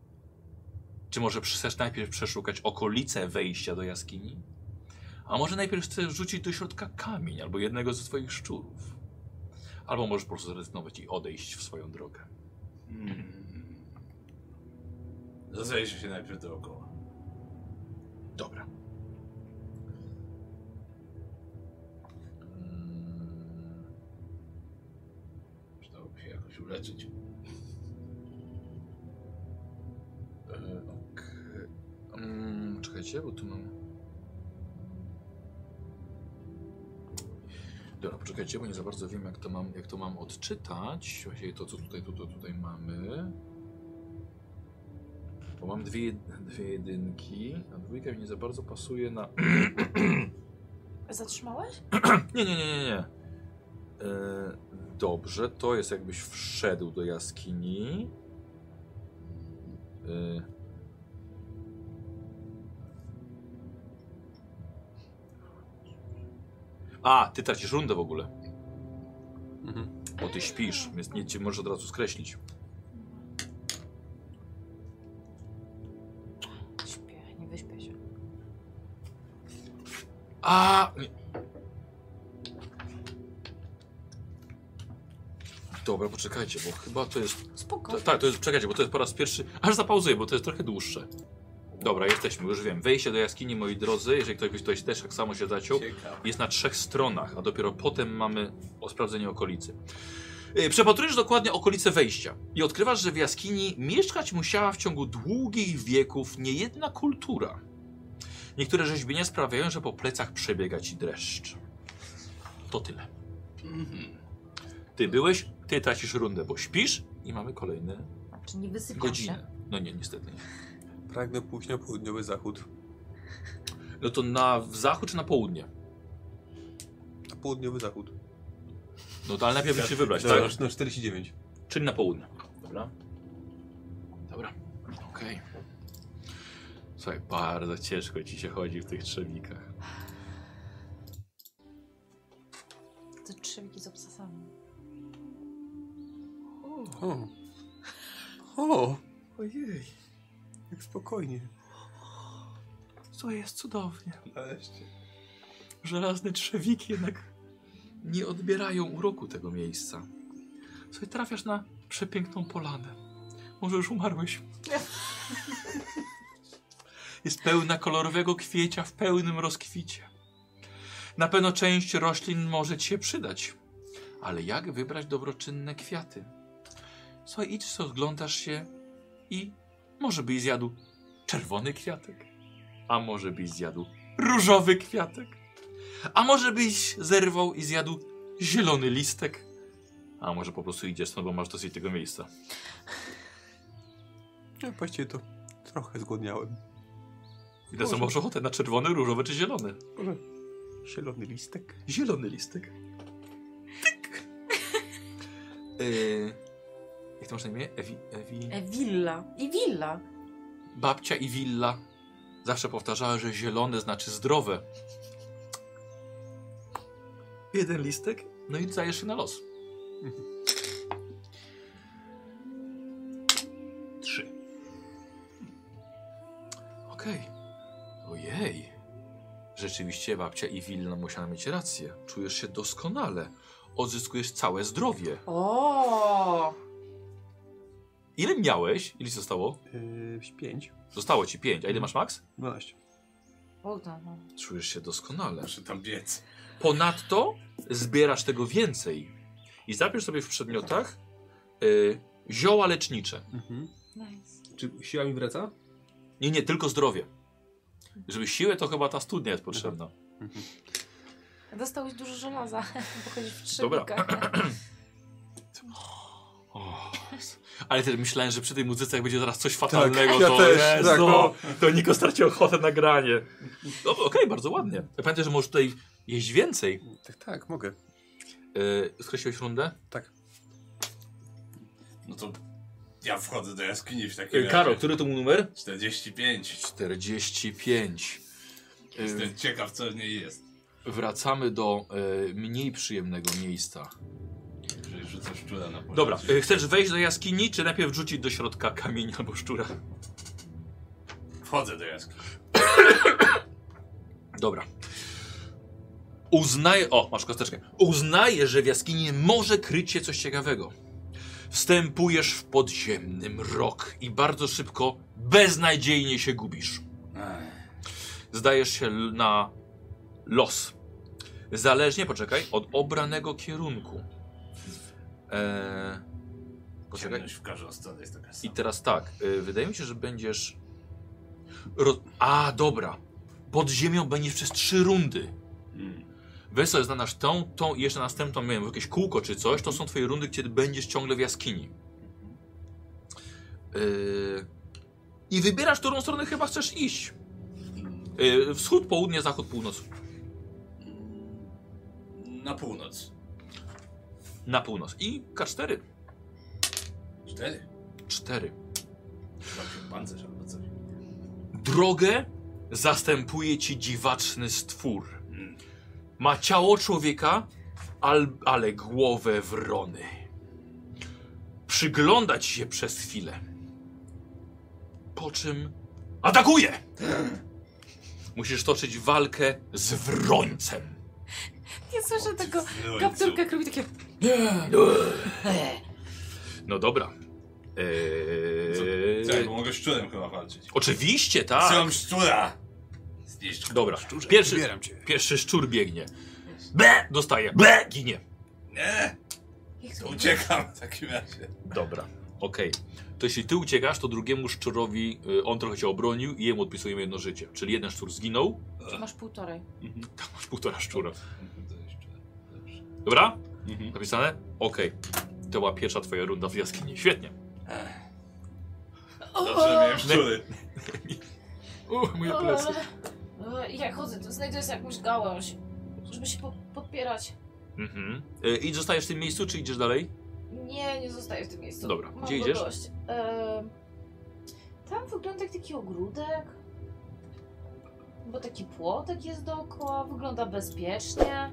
Speaker 1: Czy może chcesz najpierw przeszukać okolice wejścia do jaskini? A może najpierw chcesz rzucić do środka kamień albo jednego ze swoich szczurów? Albo możesz po prostu zrezygnować i odejść w swoją drogę.
Speaker 4: Hmm. Rozejrzę się najpierw dookoła.
Speaker 1: Dobra. Mm,
Speaker 4: Przydałoby się jakoś uleczyć.
Speaker 1: e, okej. Mm, czekajcie, bo tu mam. Dobra, poczekajcie, bo nie za bardzo wiem, jak to mam, jak to mam odczytać. Właściwie to, co tutaj, tutaj, tutaj mamy. Bo mam dwie, jed- dwie jedynki, a dwójka mi nie za bardzo pasuje na.
Speaker 2: Zatrzymałeś?
Speaker 1: Nie, nie, nie, nie, nie. E, dobrze, to jest jakbyś wszedł do jaskini. E, a, ty tracisz rundę w ogóle. Bo ty śpisz, więc nie cię możesz od razu skreślić.
Speaker 2: Śpię, nie wyśpię się.
Speaker 1: A! nie. Dobra, poczekajcie, bo chyba to jest
Speaker 2: Spoko.
Speaker 1: To, tak, to jest, czekajcie, bo to jest po raz pierwszy. Aż zapauzuję, bo to jest trochę dłuższe. Dobra, jesteśmy, już wiem. Wejście do jaskini, moi drodzy, jeżeli ktoś by ktoś też tak samo się zaciął,
Speaker 4: Ciekawe.
Speaker 1: jest na trzech stronach, a dopiero potem mamy o sprawdzenie okolicy. E, Przepatrujesz dokładnie okolice wejścia i odkrywasz, że w jaskini mieszkać musiała w ciągu długich wieków niejedna kultura. Niektóre rzeźbienia sprawiają, że po plecach przebiega ci dreszcz. To tyle.
Speaker 4: Mhm.
Speaker 1: Ty byłeś, ty tracisz rundę, bo śpisz i mamy kolejne
Speaker 2: Znaczy nie wysypiam się.
Speaker 1: godziny. No nie, niestety nie.
Speaker 3: Pragnę pójść na południowy zachód.
Speaker 1: No to na w zachód czy na południe?
Speaker 3: Na południowy zachód.
Speaker 1: No to ale najpierw musisz się wybrać,
Speaker 3: Dobra, no
Speaker 1: tak?
Speaker 3: już na 49.
Speaker 1: Czyli na południe. Dobra. Dobra. Okej. Słuchaj, bardzo ciężko ci się chodzi w tych trzewikach.
Speaker 2: Te trzewiki z obsasami.
Speaker 3: O. O. Ojej. Jak spokojnie.
Speaker 1: Co jest cudownie.
Speaker 5: Nareszcie.
Speaker 1: Żelazne trzewiki jednak nie odbierają uroku tego miejsca. Słuchaj, trafiasz na przepiękną polanę. Może już umarłeś. Jest pełna kolorowego kwiecia w pełnym rozkwicie. Na pewno część roślin może ci się przydać. Ale jak wybrać dobroczynne kwiaty? Słuchaj, idź, rozglądasz się i może byś zjadł czerwony kwiatek, a może byś zjadł różowy kwiatek. A może byś zerwał i zjadł zielony listek? A może po prostu idziesz stąd, bo masz dosyć tego miejsca.
Speaker 3: Ja No, właściwie to trochę zgłodniałem.
Speaker 1: I teraz masz ochotę na czerwony, różowy czy zielony?
Speaker 3: Może zielony listek?
Speaker 1: Zielony listek. Tyk. Yy, jak to masz na imię? Ewi, Ewi...
Speaker 2: E, willa. I willa.
Speaker 1: Babcia i willa zawsze powtarzała, że zielone znaczy zdrowe. Jeden listek, no i dajesz się na los. Trzy. Okej. Ojej. Rzeczywiście babcia i willa musiała mieć rację. Czujesz się doskonale. Odzyskujesz całe zdrowie.
Speaker 2: O!
Speaker 1: Ile miałeś? Ile ci zostało?
Speaker 3: Yy, 5.
Speaker 1: Zostało ci pięć. A ile masz max?
Speaker 3: 12.
Speaker 2: Bogdan, no.
Speaker 1: Czujesz się doskonale.
Speaker 4: Muszę tam biec.
Speaker 1: Ponadto zbierasz tego więcej i zapisz sobie w przedmiotach y, zioła lecznicze.
Speaker 3: Mhm.
Speaker 2: Nice.
Speaker 3: Czy siła mi wraca?
Speaker 1: Nie, nie, tylko zdrowie. Żeby siłę, to chyba ta studnia jest potrzebna.
Speaker 2: Dostałeś dużo żelaza, bo chodzisz w
Speaker 1: Dobra.
Speaker 2: trzewikach.
Speaker 1: O, ale też myślałem, że przy tej muzyce jak będzie zaraz coś fatalnego,
Speaker 3: Tak, ja
Speaker 1: to,
Speaker 3: też,
Speaker 1: Jezu,
Speaker 3: tak, no.
Speaker 1: to Niko straci ochotę na granie. No, Okej, bardzo ładnie. Pamiętaj, że możesz tutaj jeść więcej.
Speaker 3: Tak, tak, mogę.
Speaker 1: Yy, skreśliłeś rundę?
Speaker 4: No to ja wchodzę do jaskini w takim
Speaker 1: Yy,
Speaker 4: razie.
Speaker 1: Karol, który to mu numer?
Speaker 4: 45.
Speaker 1: 45. Yy,
Speaker 4: Jestem ciekaw, co w niej jest.
Speaker 1: Wracamy do e, mniej przyjemnego miejsca.
Speaker 4: Jeżeli rzucę szczura na pole.
Speaker 1: Dobra, e, chcesz wejść do jaskini, czy najpierw rzucić do środka kamień albo szczura?
Speaker 4: Wchodzę do jaskini.
Speaker 1: Dobra. Uznaję, o, masz kosteczkę. Uznaję, że w jaskini może kryć się coś ciekawego. Wstępujesz w podziemny mrok i bardzo szybko, beznadziejnie się gubisz.
Speaker 4: Ech,
Speaker 1: Zdajesz się l- na los. Zależnie, poczekaj, od obranego kierunku. Eee, poczekaj.
Speaker 4: Ciemność w każdą stronę jest taka
Speaker 1: I
Speaker 4: sama.
Speaker 1: teraz tak, y, wydaje mi się, że będziesz. Ro... A, dobra. Pod ziemią będziesz przez trzy rundy.
Speaker 4: Mm.
Speaker 1: Weź sobie znanasz tą, tą i jeszcze następną, nie wiem, jakieś kółko czy coś, to są twoje rundy, gdzie będziesz ciągle w jaskini. Y, I wybierasz, którą stronę chyba chcesz iść. Y, Wschód, południe, zachód, północ.
Speaker 4: Mm. Na północ.
Speaker 1: Na północ. I K4.
Speaker 4: Cztery.
Speaker 1: 4.
Speaker 4: Robię pancerz albo coś.
Speaker 1: Drogę zastępuje ci dziwaczny stwór.
Speaker 4: Mm.
Speaker 1: Ma ciało człowieka, al, ale głowę wrony. Przygląda ci się przez chwilę. Po czym atakuje! Musisz toczyć walkę z wrońcem.
Speaker 2: Nie słyszę tego.
Speaker 4: No i
Speaker 2: Kapturka jak robi takie...
Speaker 1: No dobra.
Speaker 4: co? Tak, bo
Speaker 1: Eee...
Speaker 4: mogę szczurem chyba walczyć.
Speaker 1: Oczywiście,
Speaker 4: Chcę
Speaker 1: tak.
Speaker 4: szczura! Zniszcz go.
Speaker 1: Dobra. Pierwszy,
Speaker 3: Wybieram cię.
Speaker 1: pierwszy szczur biegnie. Ble! Dostaje. Ble! Ginie.
Speaker 4: Nie!
Speaker 2: Jak
Speaker 4: To
Speaker 2: to
Speaker 4: uciekam w takim razie.
Speaker 1: Dobra, okej. To jeśli ty uciekasz, to drugiemu szczurowi y, on trochę się obronił i jemu odpisujemy jedno życie. Czyli jeden szczur zginął,
Speaker 2: Czy masz półtorej?
Speaker 1: tam masz półtora szczura. Mhm.
Speaker 4: To jeszcze lepsze.
Speaker 1: Dobra?
Speaker 5: Mhm.
Speaker 1: Napisane? Okej. To była pierwsza twoja runda w jaskini. Świetnie.
Speaker 5: Dobrze, miałem szczury.
Speaker 1: Uch, moje plecy.
Speaker 2: E, Jak chodzę, to znajduję sobie jakąś gałąź, żeby się po podpierać.
Speaker 1: Mhm. Y, I zostajesz w tym miejscu, czy idziesz dalej?
Speaker 2: Nie, nie zostaję w tym miejscu.
Speaker 1: Dobra,
Speaker 2: Mam
Speaker 1: gdzie
Speaker 2: go
Speaker 1: idziesz?
Speaker 2: dość. E, tam wygląda jak taki ogródek, bo taki płotek jest dookoła, wygląda bezpiecznie.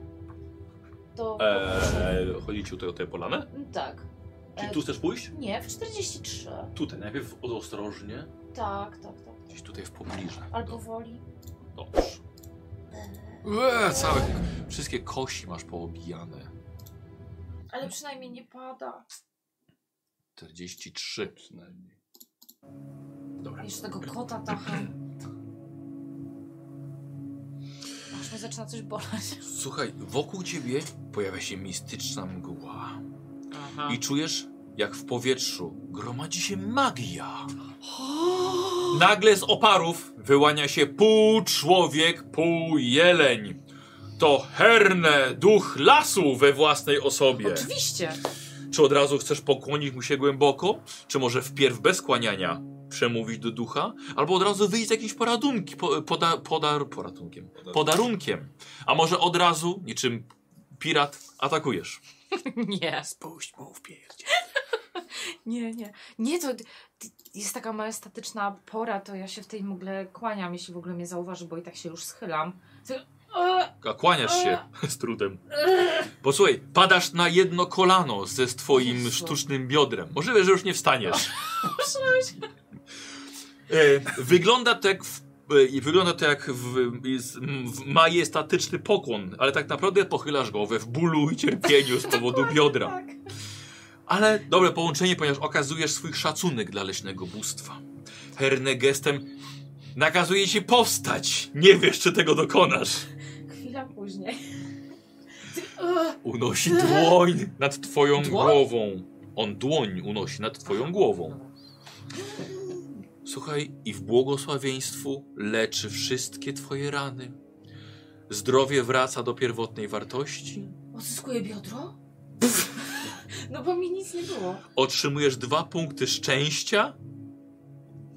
Speaker 2: To...
Speaker 1: Eee, chodzi ci tutaj o tę polanę?
Speaker 2: Tak.
Speaker 1: Czy
Speaker 2: E,
Speaker 1: tu chcesz pójść?
Speaker 2: Nie, w 43.
Speaker 1: Tutaj, najpierw ostrożnie.
Speaker 2: Tak, tak, tak.
Speaker 1: Gdzieś tutaj w pobliżu.
Speaker 2: Albo woli.
Speaker 1: Dobrze. Eee, całe... Wszystkie kości masz poobijane.
Speaker 2: Ale przynajmniej nie pada.
Speaker 1: 43 przynajmniej. Dobra.
Speaker 2: Jeszcze tego kota tacha. Aż mnie zaczyna coś bolać.
Speaker 1: Słuchaj, wokół ciebie pojawia się mistyczna mgła. I czujesz, jak w powietrzu gromadzi się magia. Nagle z oparów wyłania się pół człowiek, pół jeleń. To herne, duch lasu we własnej osobie.
Speaker 2: Oczywiście.
Speaker 1: Czy od razu chcesz pokłonić mu się głęboko? Czy może wpierw bez kłaniania przemówić do ducha? Albo od razu wyjść z jakiejś poradunki, po, poda, podar, poradunkiem, podarunkiem. A może od razu, niczym pirat, atakujesz?
Speaker 2: Nie.
Speaker 1: Puść mu w pierdzie.
Speaker 2: Nie, nie. Nie, to ty- jest taka majestatyczna pora, to ja się w tej mgle kłaniam, jeśli w ogóle mnie zauważy, bo i tak się już schylam. To- E,
Speaker 1: A kłaniasz się z trudem. Bo słuchaj, padasz na jedno kolano ze swoim
Speaker 2: Jezu.
Speaker 1: sztucznym biodrem. Możliwe, że już nie wstaniesz. E, Wygląda to jak, w, e, i wygląda to jak w, jest, m, w majestatyczny pokłon, ale tak naprawdę pochylasz głowę w bólu i cierpieniu z powodu biodra.
Speaker 2: tak.
Speaker 1: Ale dobre połączenie, ponieważ okazujesz swój szacunek dla leśnego bóstwa. Herne gestem nakazuje ci powstać. Nie wiesz, czy tego dokonasz.
Speaker 2: Chwila później. Ty- e,
Speaker 1: Unosi dłoń nad twoją
Speaker 2: Dłoń?
Speaker 1: głową. On dłoń unosi nad twoją głową. Słuchaj, i w błogosławieństwu leczy wszystkie twoje rany. Zdrowie wraca do pierwotnej wartości.
Speaker 2: Odzyskuję biodro? No bo mi nic nie było.
Speaker 1: Otrzymujesz dwa punkty szczęścia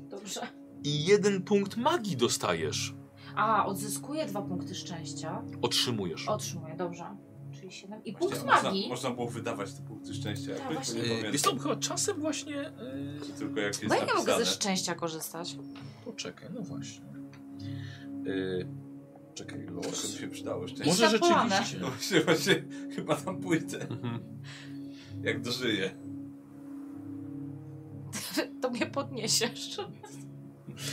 Speaker 2: Dobrze.
Speaker 1: i jeden punkt magii dostajesz.
Speaker 2: A, odzyskuję dwa punkty szczęścia.
Speaker 1: Otrzymujesz.
Speaker 2: Otrzymuję, dobrze. Czyli 7. I
Speaker 5: Właśnie,
Speaker 2: punkt
Speaker 5: a
Speaker 2: magii.
Speaker 5: Można, można było wydawać te punkty szczęścia,
Speaker 2: Tak,
Speaker 5: jakby, to
Speaker 2: właśnie.
Speaker 5: nie
Speaker 1: Yy,
Speaker 5: pamiętam.
Speaker 1: Wiesz co, chyba czasem właśnie... Yy,
Speaker 5: Czy tylko jak jest
Speaker 2: Bo ja nie mogę
Speaker 5: napisane.
Speaker 2: ze szczęścia korzystać.
Speaker 1: poczekaj, no właśnie. Yy, czekaj,
Speaker 5: Może
Speaker 1: los.
Speaker 5: by się przydało szczęście.
Speaker 1: Może
Speaker 2: Iść na polanę.
Speaker 1: rzeczywiście...
Speaker 5: No właśnie, właśnie, chyba tam pójdę.
Speaker 1: Mhm.
Speaker 5: Jak dożyję.
Speaker 2: To mnie podniesiesz.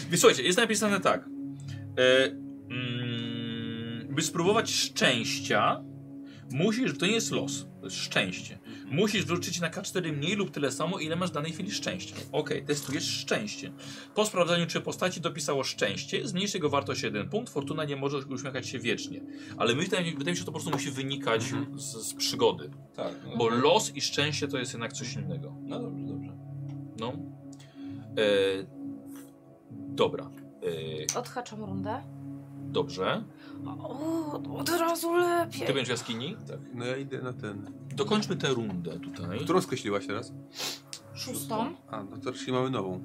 Speaker 1: Więc Słuchajcie, jest napisane tak. E, mm, by spróbować szczęścia, musisz, to nie jest los, to jest szczęście. Musisz wrócić na K4 mniej lub tyle samo, ile masz w danej chwili szczęścia. Ok, testujesz szczęście. Po sprawdzeniu, czy postaci dopisało szczęście, zmniejszy jego wartość o jeden punkt. Fortuna nie może uśmiechać się wiecznie. Ale myślę, wydaje mi się, że to po prostu musi wynikać z, z przygody.
Speaker 5: Tak, no,
Speaker 1: Bo los i szczęście to jest jednak coś innego.
Speaker 5: no dobrze, dobrze.
Speaker 1: No. E, dobra. E,
Speaker 2: Odhaczam rundę.
Speaker 1: Dobrze.
Speaker 2: O, od razu lepiej.
Speaker 1: Ty będziesz w jaskini? Tak.
Speaker 3: No ja idę na ten.
Speaker 1: Dokończmy tę rundę tutaj.
Speaker 6: Którą skreśliłaś teraz?
Speaker 2: Szóstą.
Speaker 6: A, no to czyli mamy nową.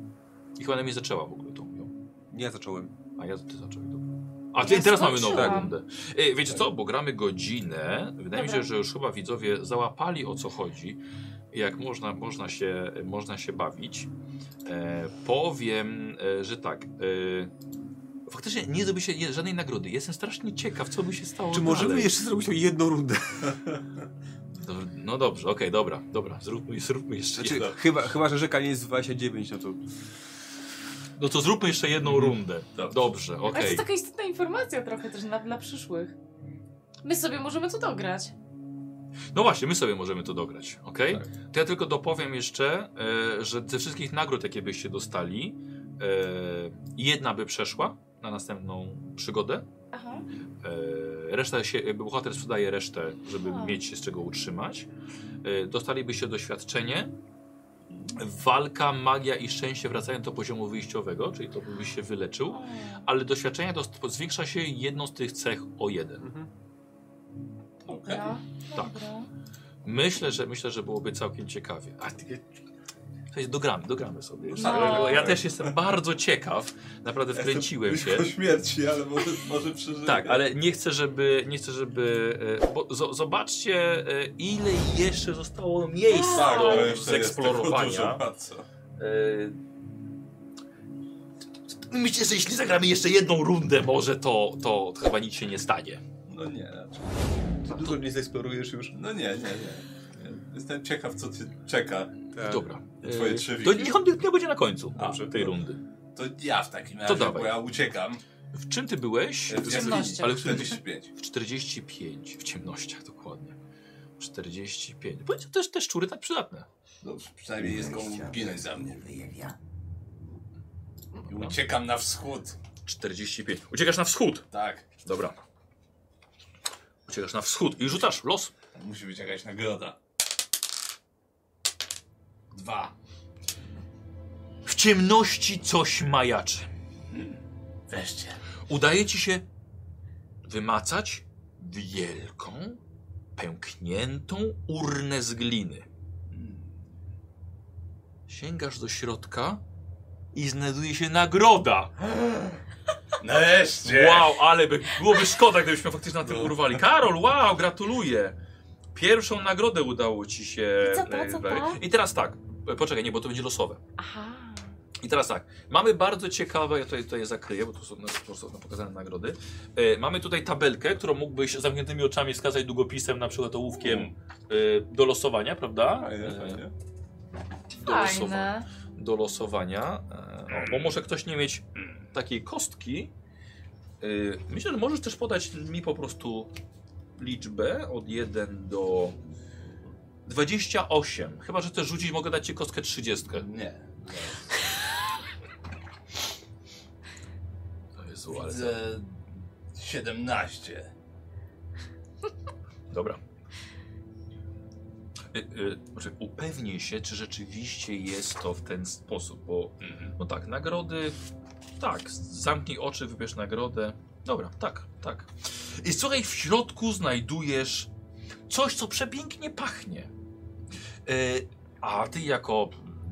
Speaker 1: I chyba na mnie zaczęła w ogóle tą. ją.
Speaker 6: Ja zacząłem.
Speaker 1: A ja ty zacząłeś, dobra. A ty,
Speaker 2: Ja
Speaker 1: teraz mamy nową
Speaker 2: skończyłam.
Speaker 1: rundę. E, wiecie co, bo gramy godzinę. Wydaje mi się,
Speaker 2: Dobra.
Speaker 1: że już chyba widzowie załapali o co chodzi. Jak można, można, się, można się bawić. E, powiem, e, że tak. E, faktycznie nie zdobył się je- żadnej nagrody. Jestem strasznie ciekaw, co by się stało.
Speaker 6: Czy możemy
Speaker 1: no dalej.
Speaker 6: jeszcze zrobić o jedną rundę?
Speaker 1: Dobrze, No dobrze, okej, dobra, dobra. Zróbmy, zróbmy jeszcze
Speaker 6: Znaczy,
Speaker 1: jedną.
Speaker 6: chyba, chyba, że rzeka nie jest 29, no to...
Speaker 1: No to zróbmy jeszcze jedną rundę. Dobrze,
Speaker 2: Mhm.
Speaker 1: okej.
Speaker 2: Ale tak- to jest taka istotna informacja trochę też na, dla przyszłych. My sobie możemy to dograć.
Speaker 1: No właśnie, my sobie możemy to dograć, ok?
Speaker 2: Tak.
Speaker 1: To ja tylko dopowiem jeszcze, e, że ze wszystkich nagród, jakie byście dostali, e, jedna by przeszła na następną przygodę.
Speaker 2: Aha.
Speaker 1: E, Reszta się, jakby bohater sprzedaje resztę, żeby
Speaker 2: A.
Speaker 1: mieć się z czego utrzymać. E, Dostalibyście doświadczenie. Walka, magia i szczęście wracają do poziomu wyjściowego, czyli to byś się wyleczył, ale doświadczenie to st- zwiększa się jedną z tych cech o jeden.
Speaker 5: Okej.
Speaker 2: Dobra,
Speaker 1: Tak.
Speaker 2: dobra.
Speaker 1: Myślę, że myślę, że byłoby całkiem ciekawie. A ty, słuchajcie, dogramy, dogramy sobie.
Speaker 2: No.
Speaker 1: Ja też jestem bardzo ciekaw. Naprawdę
Speaker 5: Jestem
Speaker 1: wkręciłem
Speaker 5: blisko
Speaker 1: się.
Speaker 5: śmierci, ale może, może przeżyję.
Speaker 1: Tak, ale nie chcę, żeby. Nie chcę, żeby. e, Bo zo- zobaczcie, e, ile jeszcze zostało miejsc
Speaker 5: Tak,
Speaker 1: do
Speaker 5: ale jeszcze jest tego dużo,
Speaker 1: zeksplorowania.
Speaker 5: bardzo.
Speaker 1: E, Myślę, że jeśli zagramy jeszcze jedną rundę, może to, to, to chyba nic się nie stanie.
Speaker 5: No nie, raczej.
Speaker 3: Ty dużo nie zeksplorujesz już.
Speaker 5: No nie, nie, nie. Jestem ciekaw, co cię czeka.
Speaker 3: Tak.
Speaker 1: Dobra.
Speaker 5: Twoje
Speaker 1: E,
Speaker 5: trzy
Speaker 1: To
Speaker 5: wiki?
Speaker 1: niech on nie będzie na końcu
Speaker 5: A,
Speaker 1: tej
Speaker 5: dobra.
Speaker 1: rundy.
Speaker 5: To ja w takim razie,
Speaker 1: To dawaj.
Speaker 5: bo ja uciekam.
Speaker 1: W czym ty byłeś?
Speaker 5: W
Speaker 2: ciemnościach.
Speaker 1: Ale w którym
Speaker 5: 45.
Speaker 1: W 45, w ciemnościach dokładnie. 45. Bądź też te szczury tak przydatne.
Speaker 5: No, przynajmniej jest komu ginąć za mnie. I uciekam na wschód.
Speaker 1: 45. Uciekasz na wschód.
Speaker 5: Tak.
Speaker 1: Dobra. Uciekasz na wschód i rzucasz los.
Speaker 5: Musi być jakaś nagroda. Dwa.
Speaker 1: W ciemności coś majaczy.
Speaker 5: Wreszcie.
Speaker 1: Udaje ci się wymacać wielką, pękniętą urnę z gliny. Sięgasz do środka i znajduje się nagroda.
Speaker 5: Nareszcie!
Speaker 1: Wow, ale by, byłoby szkoda, gdybyśmy faktycznie na tym
Speaker 5: No.
Speaker 1: urwali. Karol, wow, gratuluję. Pierwszą nagrodę udało ci się.
Speaker 2: I co to, co to?
Speaker 1: I teraz tak, e, poczekaj, nie, bo to będzie losowe.
Speaker 2: Aha.
Speaker 1: I teraz tak, mamy bardzo ciekawe, ja tutaj, tutaj je zakryję, bo tu są, tu są pokazane nagrody. E, mamy tutaj tabelkę, którą mógłbyś z zamkniętymi oczami wskazać długopisem, na przykład ołówkiem e, do losowania, prawda?
Speaker 5: Mm. Fajnie,
Speaker 1: E,
Speaker 5: fajnie.
Speaker 1: Do losowania
Speaker 2: Fajne.
Speaker 1: do losowania. E, O, bo może ktoś nie mieć takiej kostki. Y, Myślę, że możesz też podać mi po prostu liczbę od 1 do 28. Chyba, że też rzucić mogę dać ci kostkę 30.
Speaker 5: Nie.
Speaker 1: Jezu, ale...
Speaker 5: Widzę 17.
Speaker 1: Dobra. Y, y, znaczy, Upewnij się, czy rzeczywiście jest to w ten sposób, bo
Speaker 5: Mhm.
Speaker 1: no tak, nagrody. Tak, zamknij oczy, wybierz nagrodę. Dobra, tak, tak. I słuchaj, w środku znajdujesz coś, co przepięknie pachnie. E, a ty, jako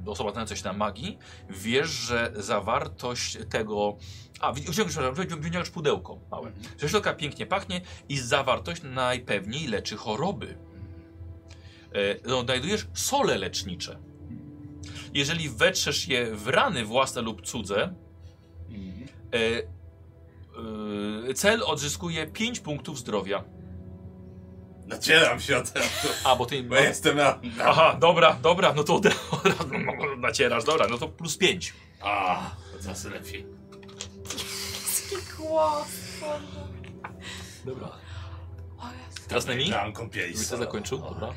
Speaker 1: osoba znająca się na magii, wiesz, że zawartość tego. A, wi- wziąłeś, wziąłeś- wziąłeś pudełko małe. Ze środka pięknie pachnie i zawartość najpewniej leczy choroby. E, no, znajdujesz sole lecznicze. Jeżeli wetrzesz je w rany własne lub cudze,
Speaker 5: Mhm.
Speaker 1: e, e, cel odzyskuje 5 punktów zdrowia.
Speaker 5: Nacieram się od razu,
Speaker 1: A, bo ty...
Speaker 5: bo jestem na... na...
Speaker 1: Aha, dobra, dobra, no to od od razu nacierasz, dobra, no to plus 5.
Speaker 5: A, od razu lepiej.
Speaker 2: Ski głos. Boże.
Speaker 1: Dobra.
Speaker 2: O Jezu.
Speaker 1: Teraz na mi?
Speaker 5: Tam kąpieli.
Speaker 1: Żebyś to zakończył, dobra.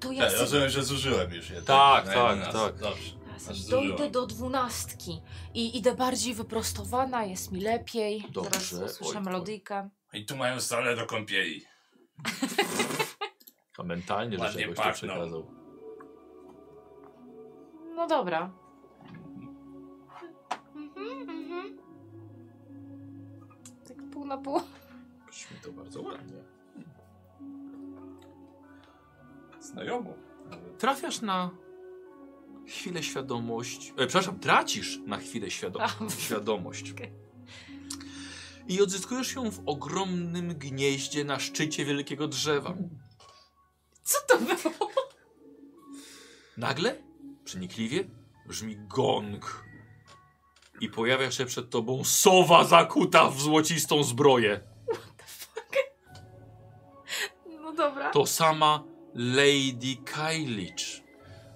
Speaker 2: To ja
Speaker 5: Tak,
Speaker 2: sobie
Speaker 5: rozumiem, że zużyłem już je.
Speaker 1: Tak,
Speaker 5: Na
Speaker 1: tak,
Speaker 5: 11.
Speaker 1: tak.
Speaker 5: Dobrze.
Speaker 2: Teraz
Speaker 5: Aż
Speaker 2: Dojdę
Speaker 5: zużyłam.
Speaker 2: do dwunastki i idę bardziej wyprostowana, jest mi lepiej.
Speaker 1: Dobrze,
Speaker 2: Zaraz usłyszę
Speaker 1: oj, oj.
Speaker 2: melodyjkę.
Speaker 5: I tu mają salę do kąpieli.
Speaker 1: A mentalnie, że
Speaker 5: Ładnie
Speaker 1: czegoś to
Speaker 5: pachną.
Speaker 1: przekazał.
Speaker 2: No dobra. Mhm, mhm. Tak pół na pół.
Speaker 1: Brzmi to bardzo ładnie.
Speaker 5: Znajomo.
Speaker 1: Trafiasz na chwilę świadomość. E, przepraszam, tracisz na chwilę świadom-
Speaker 2: A.
Speaker 1: świadomość.
Speaker 2: Okej.
Speaker 1: I odzyskujesz ją w ogromnym gnieździe na szczycie wielkiego drzewa.
Speaker 2: Co to było?
Speaker 1: Nagle, przenikliwie, brzmi gong. I pojawia się przed tobą sowa zakuta w złocistą zbroję.
Speaker 2: No dobra.
Speaker 1: To sama Lady Kailich.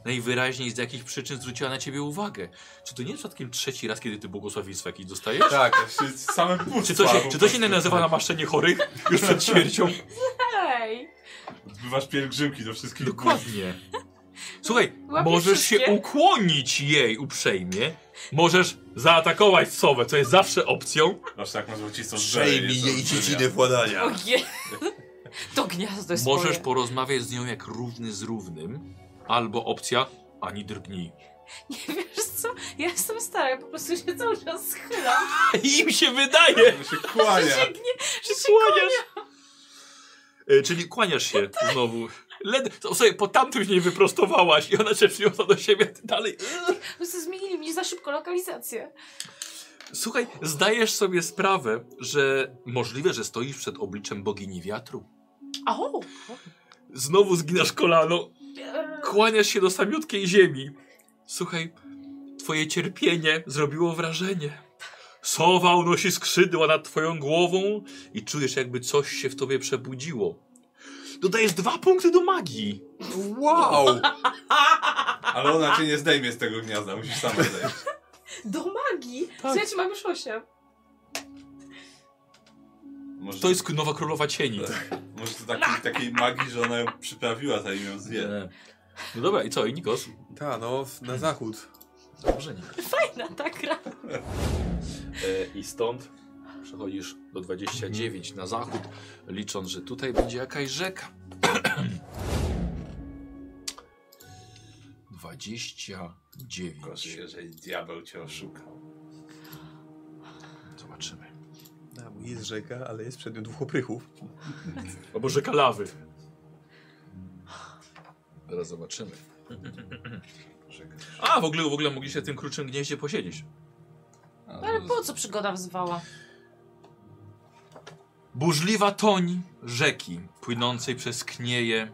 Speaker 1: Najwyraźniej z jakichś przyczyn zwróciła na ciebie uwagę. Czy to nie jest przypadkiem trzeci raz, kiedy ty błogosławieństwo jakieś dostajesz?
Speaker 5: Tak, właśnie same płuc
Speaker 1: Czy to się,
Speaker 5: spadł
Speaker 1: czy to
Speaker 5: po
Speaker 1: się nie
Speaker 5: prostu.
Speaker 1: nazywa namaszczenie chorych? Już przed śmiercią?
Speaker 2: Hej!
Speaker 5: Bywasz pielgrzymki do wszystkich
Speaker 1: Dokładnie. Słuchaj,
Speaker 2: Łapiesz
Speaker 1: możesz się
Speaker 2: wszystkie?
Speaker 1: ukłonić jej uprzejmie. Możesz zaatakować sowę, co jest zawsze opcją.
Speaker 5: Aż tak masz wrócić co
Speaker 7: Przejmij jej dziecinę władania.
Speaker 2: Ogie. To gniazdo jest
Speaker 1: Możesz
Speaker 2: moje.
Speaker 1: porozmawiać z nią jak równy z równym. Albo opcja ani drgnij.
Speaker 2: Nie wiesz co? Ja jestem stara, ja po prostu się cały czas schylam.
Speaker 1: Im się wydaje,
Speaker 5: się kłania.
Speaker 2: Że gnie, że się
Speaker 1: kłaniasz. E, Czyli kłaniasz się znowu. Led... To, sobie po tamtym się nie wyprostowałaś i ona cię przyniosła do siebie, a ty dalej.
Speaker 2: po prostu zmienili mi za szybko lokalizację.
Speaker 1: Słuchaj, zdajesz sobie sprawę, że możliwe, że stoisz przed obliczem bogini wiatru.
Speaker 2: Au!
Speaker 1: Znowu zginasz kolano,
Speaker 2: Eee,
Speaker 1: kłaniasz się do samiutkiej ziemi. Słuchaj, twoje cierpienie zrobiło wrażenie. Sowa unosi skrzydła nad twoją głową i czujesz, jakby coś się w tobie przebudziło. Dodajesz dwa punkty do magii.
Speaker 5: Wow! Ale ona cię nie zdejmie z tego gniazda, musisz sama zdejść.
Speaker 2: Do magii! Słuchajcie, mam już osiem.
Speaker 5: Może
Speaker 1: To jest nowa królowa cieni.
Speaker 5: Może to taki, takiej magii, że ona ją przyprawiła, zanim ją zje.
Speaker 1: No dobra, i co, i Nikos?
Speaker 3: Ta, no, na zachód.
Speaker 1: Założenie.
Speaker 2: Na tak gra.
Speaker 1: E, I stąd przechodzisz do 29 na zachód, licząc, że tutaj będzie jakaś rzeka. 29.
Speaker 5: Gorzej, jeżeli diabeł cię oszukał.
Speaker 1: Zobaczymy.
Speaker 3: Ta, bo jest rzeka, ale jest przedmiot dwóch oprychów.
Speaker 1: Albo rzeka lawy. Zaraz zobaczymy. A, w ogóle, w ogóle mogliście w tym krótszym gnieździe posiedzieć.
Speaker 2: Ale po co przygoda wzwała?
Speaker 1: Burzliwa toń rzeki, płynącej przez knieje,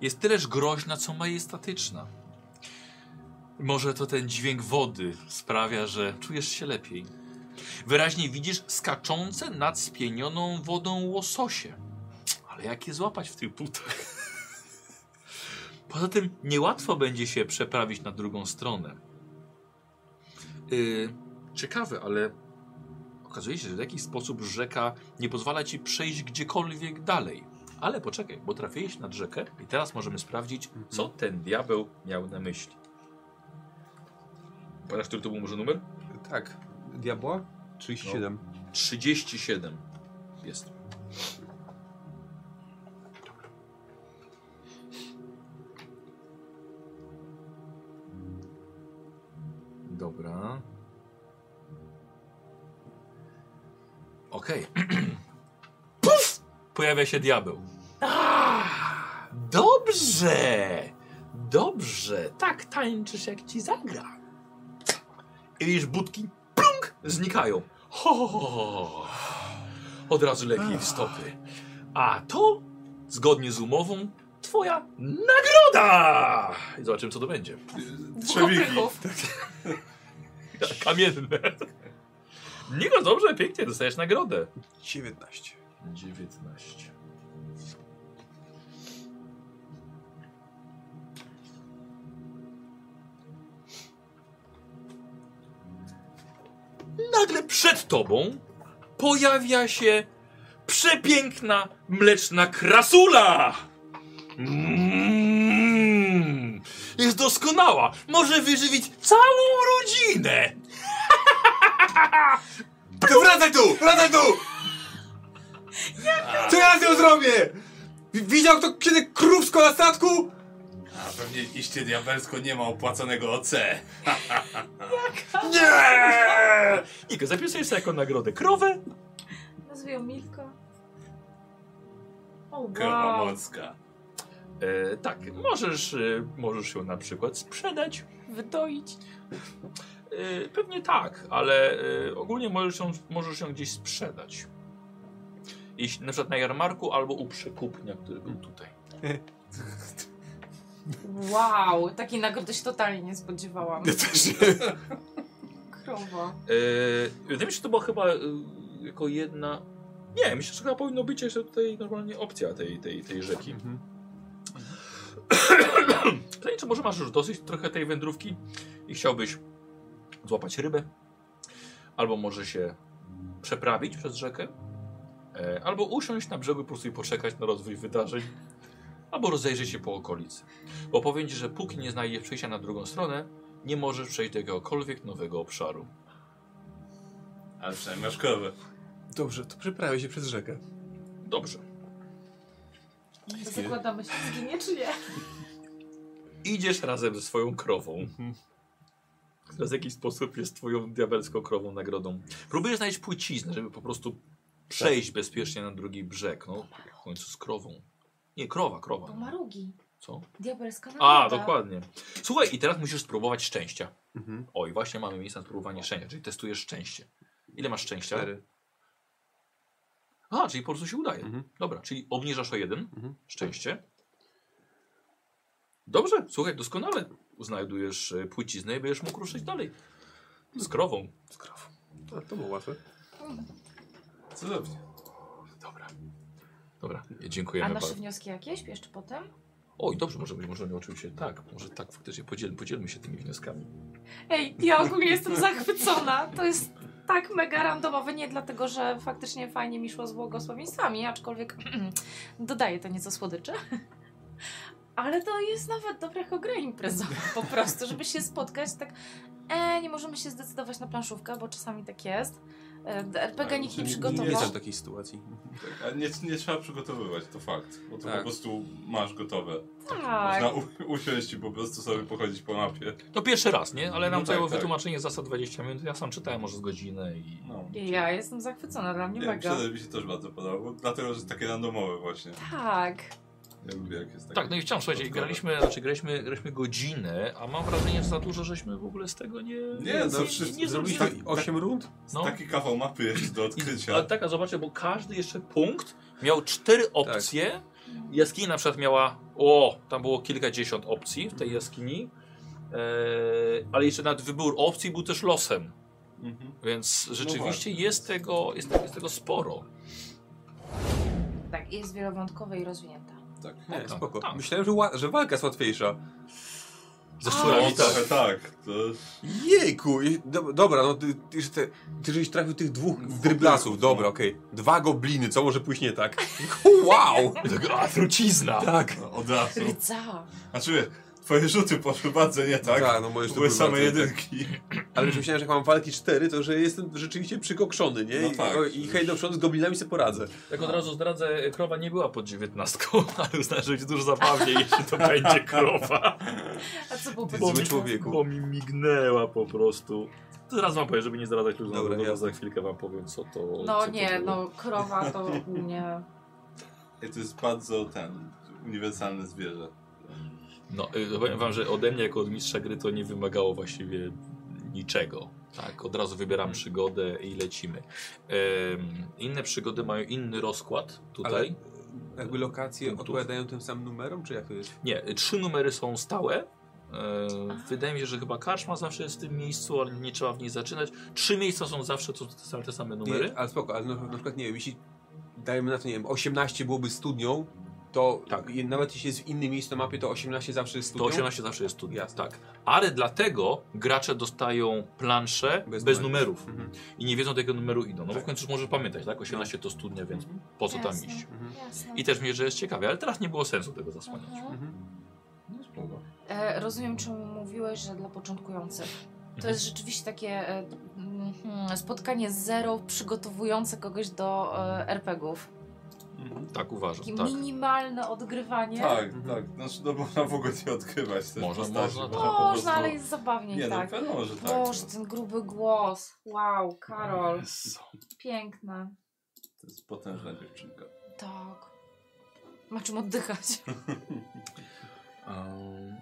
Speaker 1: jest tyleż groźna, co majestatyczna. Może to ten dźwięk wody sprawia, że czujesz się lepiej. Wyraźnie widzisz skaczące nad spienioną wodą łososie. Ale jak je złapać w tych butach? Poza tym niełatwo będzie się przeprawić na drugą stronę. Yy, ciekawe, ale Okazuje się, że w jakiś sposób rzeka nie pozwala ci przejść gdziekolwiek dalej. Ale poczekaj, bo trafiłeś nad rzekę i teraz możemy sprawdzić, co ten diabeł miał na myśli. Pamiętasz, który to był może numer?
Speaker 3: Tak. Diabła? 37.
Speaker 1: 37 jest. Dobra. Okej. Puf! Pojawia się diabeł. Ah, Dobrze! Dobrze! Tak tańczysz jak ci zagra. I widzisz budki plunk, znikają. Ho, ho, ho, ho, ho. Od razu lepiej w stopy. A to, zgodnie z umową, twoja nagroda! I zobaczymy, co to będzie.
Speaker 5: Trzewiki.
Speaker 1: Kamienne. Niko, dobrze, pięknie, dostajesz nagrodę.
Speaker 3: 19.
Speaker 1: 19. Nagle przed tobą pojawia się przepiękna mleczna krasula. Mm, jest doskonała. Może wyżywić całą rodzinę.
Speaker 7: To wracaj tu! Wracaj tu!
Speaker 6: Co ja z nią zrobię? Wi- Widział kto kiedy krówsko na statku?
Speaker 5: A pewnie iście diabelsko nie ma opłaconego OC.
Speaker 1: Nie! Niko, zapisujesz sobie jako nagrodę krowę.
Speaker 2: Nazwę ją Milka. O,
Speaker 5: Krowa
Speaker 2: wow.
Speaker 5: mocka.
Speaker 1: E, tak, możesz, e, możesz ją na przykład sprzedać.
Speaker 2: Wydoić.
Speaker 1: E, pewnie tak, ale e, ogólnie możesz ją, możesz ją gdzieś sprzedać. Jeśli, na przykład na jarmarku albo u przekupnia, który był tutaj.
Speaker 2: Wow, takiej nagrody się totalnie nie spodziewałam.
Speaker 7: też
Speaker 2: Krowa.
Speaker 1: E, Wydaje mi się, że to była chyba e, jako jedna. Nie, myślę, że chyba powinno być jeszcze tutaj normalnie opcja tej, tej, tej rzeki. Pytanie, czy może masz już dosyć trochę tej wędrówki i chciałbyś złapać rybę? Albo może się przeprawić przez rzekę? E, albo usiąść na brzegu po prostu i poczekać na rozwój wydarzeń. albo rozejrzyj się po okolicy. Bo powiem ci, że póki nie znajdziesz przejścia na drugą stronę, nie możesz przejść do jakiegokolwiek nowego obszaru.
Speaker 4: Ale przynajmniej masz krowę.
Speaker 6: Dobrze, to przeprawię się przez rzekę.
Speaker 1: Dobrze.
Speaker 2: Zakładamy się, zginie czy nie?
Speaker 1: Idziesz razem ze swoją krową. Która w jakiś sposób jest twoją diabelską krową nagrodą. Próbujesz znaleźć płyciznę, żeby po prostu przejść bezpiecznie na drugi brzeg. No, w końcu z krową. Nie, krowa,
Speaker 2: To
Speaker 1: krowa.
Speaker 2: marugi.
Speaker 1: Co?
Speaker 2: Diabelska
Speaker 1: A,
Speaker 2: nagroda.
Speaker 1: dokładnie. Słuchaj, i teraz musisz spróbować szczęścia.
Speaker 6: Mhm.
Speaker 1: O, i właśnie mamy miejsce na spróbowanie szczęścia, czyli testujesz szczęście. Ile masz szczęścia?
Speaker 6: Cztery.
Speaker 1: A, czyli po prostu się udaje.
Speaker 6: Mhm.
Speaker 1: Dobra, czyli obniżasz o jeden
Speaker 6: Mhm.
Speaker 1: szczęście. Dobrze, słuchaj, doskonale. Znajdujesz e, płciznę i będziesz mógł ruszyć dalej. Z krową.
Speaker 6: Z krową. A, to było łatwe.
Speaker 5: Cudownie.
Speaker 1: Dobra. Dobra,
Speaker 2: A
Speaker 1: dziękujemy
Speaker 2: nasze
Speaker 1: bardzo.
Speaker 2: wnioski jakieś jeszcze potem?
Speaker 1: Oj, dobrze, może być, możemy oczywiście tak, może tak faktycznie podzielmy, podzielmy się tymi wnioskami.
Speaker 2: Ej, ja ogólnie jestem zachwycona. To jest tak mega randomowe. Nie dlatego, że faktycznie fajnie mi szło z błogosławieństwami, aczkolwiek dodaję to nieco słodyczy. Ale to jest nawet dobra jako gra imprezowa po prostu, żeby się spotkać tak e, nie możemy się zdecydować na planszówkę, bo czasami tak jest. E, RPG nikt nie
Speaker 5: Nie- nie
Speaker 6: Nie
Speaker 2: przygotował.
Speaker 5: Dobra.
Speaker 6: znam takiej sytuacji.
Speaker 5: Tak, a nie, nie trzeba przygotowywać, to fakt. Bo to
Speaker 6: Tak.
Speaker 5: po prostu masz gotowe.
Speaker 2: Tak.
Speaker 5: Można u, usiąść i po prostu sobie pochodzić po mapie.
Speaker 1: No pierwszy raz, nie? Ale nam
Speaker 5: No tak,
Speaker 1: zajęło
Speaker 5: tak.
Speaker 1: wytłumaczenie zasad 20 minut, ja sam czytałem może z godzinę i...
Speaker 5: No.
Speaker 2: Ja jestem zachwycona, dla mnie
Speaker 5: Nie,
Speaker 2: mega.
Speaker 5: przede mi się też bardzo podobało, bo- dlatego, że jest takie randomowe właśnie.
Speaker 2: Tak.
Speaker 5: Ja lubię jak jest takie.
Speaker 1: Tak, no i wciąż, słuchajcie,
Speaker 5: dodatkowe.
Speaker 1: graliśmy, znaczy graliśmy, graliśmy godzinę, a mam wrażenie, że za dużo żeśmy w ogóle z tego nie...
Speaker 5: Nie, no wszyscy
Speaker 1: nie
Speaker 5: zrobiliśmy
Speaker 3: tak-
Speaker 1: zrobiliśmy.
Speaker 6: 8 rund?
Speaker 1: No.
Speaker 5: Taki kawał mapy jest do
Speaker 1: Ale
Speaker 5: odkrycia.
Speaker 1: tak, a zobaczcie, bo każdy jeszcze punkt miał cztery opcje. Jaskini na przykład miała, o, tam było kilkadziesiąt opcji w tej jaskini. Eee, ale jeszcze nad wybór opcji był też losem,
Speaker 5: Mhm.
Speaker 1: więc rzeczywiście
Speaker 5: właśnie.
Speaker 1: jest, tego, jest, tego- jest tego sporo.
Speaker 2: Tak, jest wielowątkowa i rozwinięta.
Speaker 5: Tak.
Speaker 6: Nie,
Speaker 1: Tak,
Speaker 6: spoko.
Speaker 1: tak.
Speaker 6: Myślałem, że, ła- że walka jest łatwiejsza.
Speaker 1: Ze
Speaker 5: No,
Speaker 1: szczurami
Speaker 5: trochę
Speaker 1: tak.
Speaker 5: tak. To...
Speaker 6: Jejku, i- do, dobra, no ty, ty, że te, ty żeś trafił tych dwóch dryblasów, no. dobra, okej. Dwa gobliny, co może pójść nie tak? Wow!
Speaker 1: A, trucizna!
Speaker 6: Tak.
Speaker 5: No, od razu.
Speaker 2: Rdza.
Speaker 5: Znaczy, wiesz, twoje rzuty poszły bardzo nie tak.
Speaker 6: Tak, no moje
Speaker 5: Były
Speaker 6: sztuki
Speaker 5: same
Speaker 6: bardzo-
Speaker 5: jedynki.
Speaker 6: tak. Ale już myślałem, że jak mam walki cztery, to że jestem rzeczywiście przykokszony, nie?
Speaker 5: No
Speaker 6: I,
Speaker 5: tak.
Speaker 6: o, I hej do przodu z goblinami sobie poradzę.
Speaker 1: Tak od razu zdradzę, krowa nie była pod dziewiętnastką, ale uznałem, że będzie dużo zabawniej, jeśli to będzie krowa.
Speaker 2: A co było
Speaker 6: Ty
Speaker 2: po
Speaker 6: zły
Speaker 2: drodze?
Speaker 6: człowieku.
Speaker 1: Bo mi mignęła po prostu. Zaraz wam powiem, żeby nie zdradzać ludziom,
Speaker 6: Dobra,
Speaker 1: bo
Speaker 6: ja-
Speaker 1: za chwilkę wam powiem, co to co
Speaker 2: No
Speaker 1: to
Speaker 2: nie,
Speaker 1: było.
Speaker 2: no krowa to nie.
Speaker 5: I to jest bardzo ten uniwersalne zwierzę.
Speaker 1: No, y, powiem wam, że ode mnie jako od mistrza gry to nie wymagało właściwie niczego. Tak, od razu wybieram przygodę i lecimy. Em, inne przygody mają inny rozkład tutaj.
Speaker 6: Ale jakby lokacje
Speaker 1: Punktów.
Speaker 6: odpowiadają tym samym numerom, czy jak to jest?
Speaker 1: Nie, y, trzy numery są stałe. E, wydaje mi się, że chyba karczma zawsze jest w tym miejscu, ale nie trzeba w niej zaczynać. Trzy miejsca są zawsze to te same, te same numery.
Speaker 6: Nie, ale spoko, ale na, na przykład nie wiem, jeśli dajemy na to, nie wiem, 18 byłoby studnią, to
Speaker 1: Tak.
Speaker 6: i- nawet jeśli jest w innym miejscu na mapie, to 18 zawsze jest
Speaker 1: To
Speaker 6: studnią.
Speaker 1: 18 zawsze jest studnia.
Speaker 6: Jasne.
Speaker 1: Tak. Ale dlatego gracze dostają plansze bez,
Speaker 6: Bez
Speaker 1: numerów.
Speaker 6: numerów. Mhm.
Speaker 1: i nie wiedzą do jakiego numeru idą. No bo w
Speaker 6: Tak.
Speaker 1: końcu możesz pamiętać, tak? 18 to studnia, więc po co tam
Speaker 2: Jasne.
Speaker 1: iść?
Speaker 6: Mhm.
Speaker 2: Jasne.
Speaker 1: I też mnie, że jest ciekawie, ale teraz nie było sensu tego zasłaniać.
Speaker 2: Mhm.
Speaker 6: Mhm.
Speaker 5: No spoko.
Speaker 2: E, rozumiem, czemu mówiłeś, że dla początkujących. To
Speaker 1: Mhm.
Speaker 2: jest rzeczywiście takie e, mhm, spotkanie z zero przygotowujące kogoś do e, RPG-ów.
Speaker 1: Tak uważam,
Speaker 2: Takie
Speaker 1: tak.
Speaker 2: minimalne odgrywanie.
Speaker 5: No Tak,
Speaker 6: Mhm.
Speaker 5: tak. Znaczy, no można w ogóle nie odkrywać też
Speaker 1: Można,
Speaker 5: postaci,
Speaker 1: można,
Speaker 5: bo
Speaker 1: tak.
Speaker 5: po
Speaker 2: Można,
Speaker 5: prostu-
Speaker 2: ale jest zabawniej,
Speaker 5: Nie,
Speaker 2: tak.
Speaker 5: no wiadomo, że tak.
Speaker 2: Boże,
Speaker 5: no.
Speaker 2: ten gruby głos. Wow, Karol.
Speaker 1: Jezu.
Speaker 2: Piękna.
Speaker 5: To jest potężna dziewczynka.
Speaker 2: Tak. Ma czym oddychać.
Speaker 1: Um,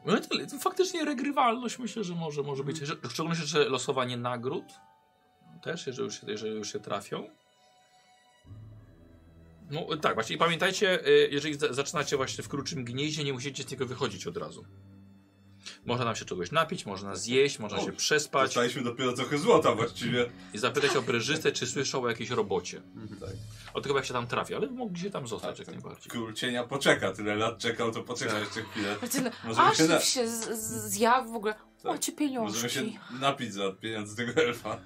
Speaker 1: No i tyle. To Faktycznie regrywalność myślę, że może, może być. Że- W szczególności, że losowanie nagród też, jeżeli już, się- jeżeli już się trafią. No tak, właśnie. I pamiętajcie, y, jeżeli za- zaczynacie właśnie w kruczym gnieździe, nie musicie z niego wychodzić od razu. Można nam się czegoś napić, można zjeść, można
Speaker 5: O,
Speaker 1: się przespać.
Speaker 5: Dostaliśmy dopiero trochę złota właściwie.
Speaker 1: I zapytać o breżystę, czy słyszał o jakiejś robocie.
Speaker 5: Tak.
Speaker 1: Od tego jak się tam trafi, ale mogli się tam zostać
Speaker 5: Tak,
Speaker 1: jak
Speaker 5: tak.
Speaker 1: najbardziej.
Speaker 5: Król cienia poczeka, tyle lat czekał, to poczeka jeszcze chwilę.
Speaker 2: Martyna,
Speaker 5: Możemy
Speaker 2: aż
Speaker 5: się na- Tak,
Speaker 2: się, się z- z- zjawił w ogóle. O, ci
Speaker 5: Możemy się
Speaker 2: pieniążki.
Speaker 5: napić za pieniądze tego elfa.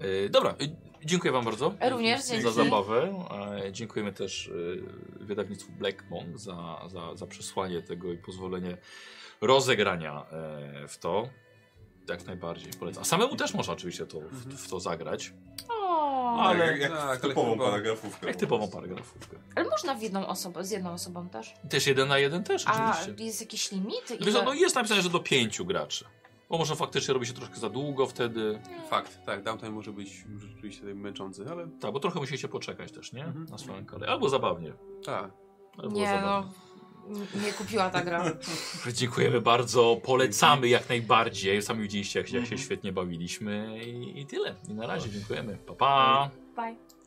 Speaker 1: Yy, dobra, y, Dziękuję wam bardzo.
Speaker 2: Również dzięki.
Speaker 1: Za zabawę. E, Dziękujemy też e, wydawnictwu Black Monk za, za, za przesłanie tego i pozwolenie rozegrania e, w to. Jak najbardziej polecam. A samemu też można oczywiście to, w, w to zagrać.
Speaker 2: O,
Speaker 5: Ale
Speaker 2: ale...
Speaker 5: jak, jak
Speaker 6: tak, ale
Speaker 5: typową
Speaker 6: chyba-
Speaker 5: paragrafówkę.
Speaker 1: Jak typową paragrafówkę.
Speaker 2: można w jedną osobę, z jedną osobą też.
Speaker 1: Też jeden na jeden też
Speaker 2: A
Speaker 1: oczywiście.
Speaker 2: jest jakiś limit?
Speaker 1: Wiesz, co,
Speaker 2: Ile-
Speaker 1: no jest napisane, że do pięciu graczy. Bo może faktycznie robi się troszkę za długo wtedy.
Speaker 6: Fakt, tak, downtime może być rzeczywiście męczący, ale
Speaker 1: Tak, bo trochę musicie poczekać też, nie?
Speaker 6: Mhm.
Speaker 1: Na swoją kolej. Albo zabawnie.
Speaker 6: tak.
Speaker 1: Albo
Speaker 2: Nie
Speaker 1: zabawnie.
Speaker 2: no, n- nie kupiła ta gra.
Speaker 1: Dziękujemy bardzo, polecamy jak najbardziej. Sami widzieliście, jak, się- jak się świetnie bawiliśmy i, i tyle. I na razie dziękujemy. Pa, pa.
Speaker 2: Bye.